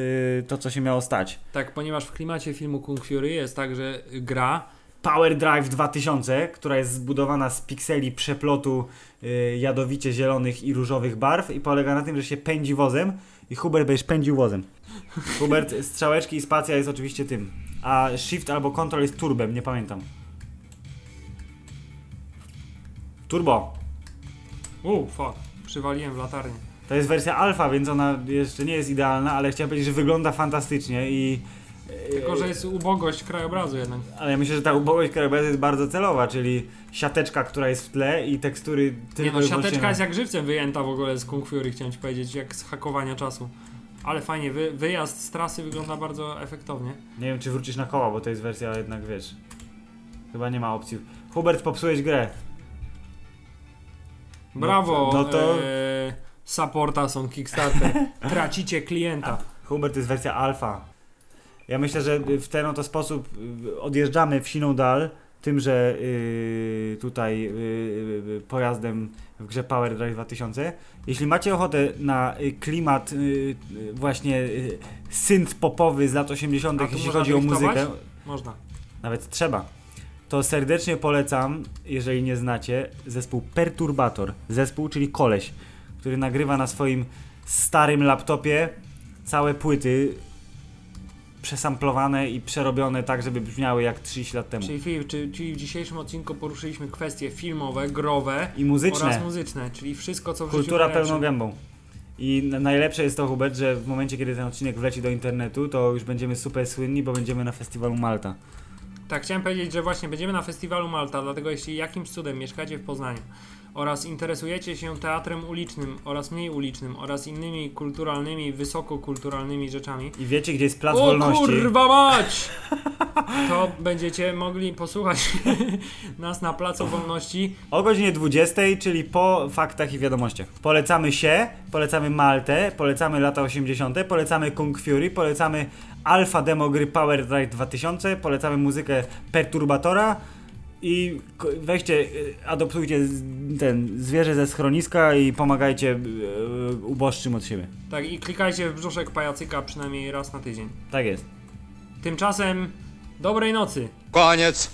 Speaker 1: to, co się miało stać.
Speaker 2: Tak, ponieważ w klimacie filmu Kung Fury jest tak, że gra
Speaker 1: Power Drive 2000, która jest zbudowana z pikseli przeplotu yy, jadowicie zielonych i różowych barw i polega na tym, że się pędzi wozem i Hubert będziesz pędził wozem. Hubert, strzałeczki i spacja jest oczywiście tym, a Shift albo Control jest turbem, nie pamiętam. Turbo.
Speaker 2: U, fuck, przywaliłem w latarnię.
Speaker 1: To jest wersja alfa, więc ona jeszcze nie jest idealna, ale chciałem powiedzieć, że wygląda fantastycznie i...
Speaker 2: Tylko, że jest ubogość krajobrazu jednak.
Speaker 1: Ale ja myślę, że ta ubogość krajobrazu jest bardzo celowa, czyli siateczka, która jest w tle i tekstury tylko
Speaker 2: Nie no,
Speaker 1: i
Speaker 2: siateczka
Speaker 1: wyłącznie-
Speaker 2: jest jak żywcem wyjęta w ogóle z Kung Fury, chciałem ci powiedzieć, jak z hakowania czasu. Ale fajnie, wy, wyjazd z trasy wygląda bardzo efektownie.
Speaker 1: Nie wiem, czy wrócisz na koła, bo to jest wersja jednak, wiesz... Chyba nie ma opcji. Hubert, popsułeś grę.
Speaker 2: Brawo,
Speaker 1: no to-
Speaker 2: e, supporta są Kickstarter. Tracicie klienta.
Speaker 1: Hubert jest wersja alfa. Ja myślę, że w ten oto sposób y, odjeżdżamy w siną dal, tym, że y, tutaj y, y, pojazdem w grze Power Drive 2000. Jeśli macie ochotę na y, klimat y, y, właśnie y, synth popowy z lat 80.,
Speaker 2: A tu
Speaker 1: jeśli
Speaker 2: można
Speaker 1: chodzi o
Speaker 2: driftować?
Speaker 1: muzykę,
Speaker 2: Można.
Speaker 1: nawet trzeba, to serdecznie polecam, jeżeli nie znacie, zespół Perturbator. Zespół, czyli koleś, który nagrywa na swoim starym laptopie całe płyty przesamplowane i przerobione tak, żeby brzmiały jak 30 lat temu.
Speaker 2: Czyli, Filip, czy, czyli w dzisiejszym odcinku poruszyliśmy kwestie filmowe, growe
Speaker 1: I muzyczne.
Speaker 2: oraz muzyczne, czyli wszystko, co w życiu
Speaker 1: Kultura
Speaker 2: najlepsze.
Speaker 1: pełną gębą. I n- najlepsze jest to, Hubert, że w momencie, kiedy ten odcinek wleci do internetu, to już będziemy super słynni, bo będziemy na festiwalu Malta.
Speaker 2: Tak, chciałem powiedzieć, że właśnie będziemy na festiwalu Malta, dlatego jeśli jakimś cudem mieszkacie w Poznaniu oraz interesujecie się teatrem ulicznym oraz mniej ulicznym oraz innymi kulturalnymi, wysokokulturalnymi rzeczami,
Speaker 1: I wiecie, gdzie jest Plac
Speaker 2: o
Speaker 1: Wolności?
Speaker 2: kurwa mać! To będziecie mogli posłuchać nas na Placu Wolności.
Speaker 1: O godzinie 20, czyli po faktach i wiadomościach. Polecamy się, polecamy Maltę, polecamy lata 80., polecamy Kung Fury, polecamy Alpha Demo gry Power Drive 2000, polecamy muzykę Perturbatora i k- weźcie, y, adoptujcie z- ten zwierzę ze schroniska i pomagajcie y, uboższym od siebie.
Speaker 2: Tak, i klikajcie w brzuszek pajacyka przynajmniej raz na tydzień.
Speaker 1: Tak jest.
Speaker 2: Tymczasem dobrej nocy!
Speaker 5: Koniec.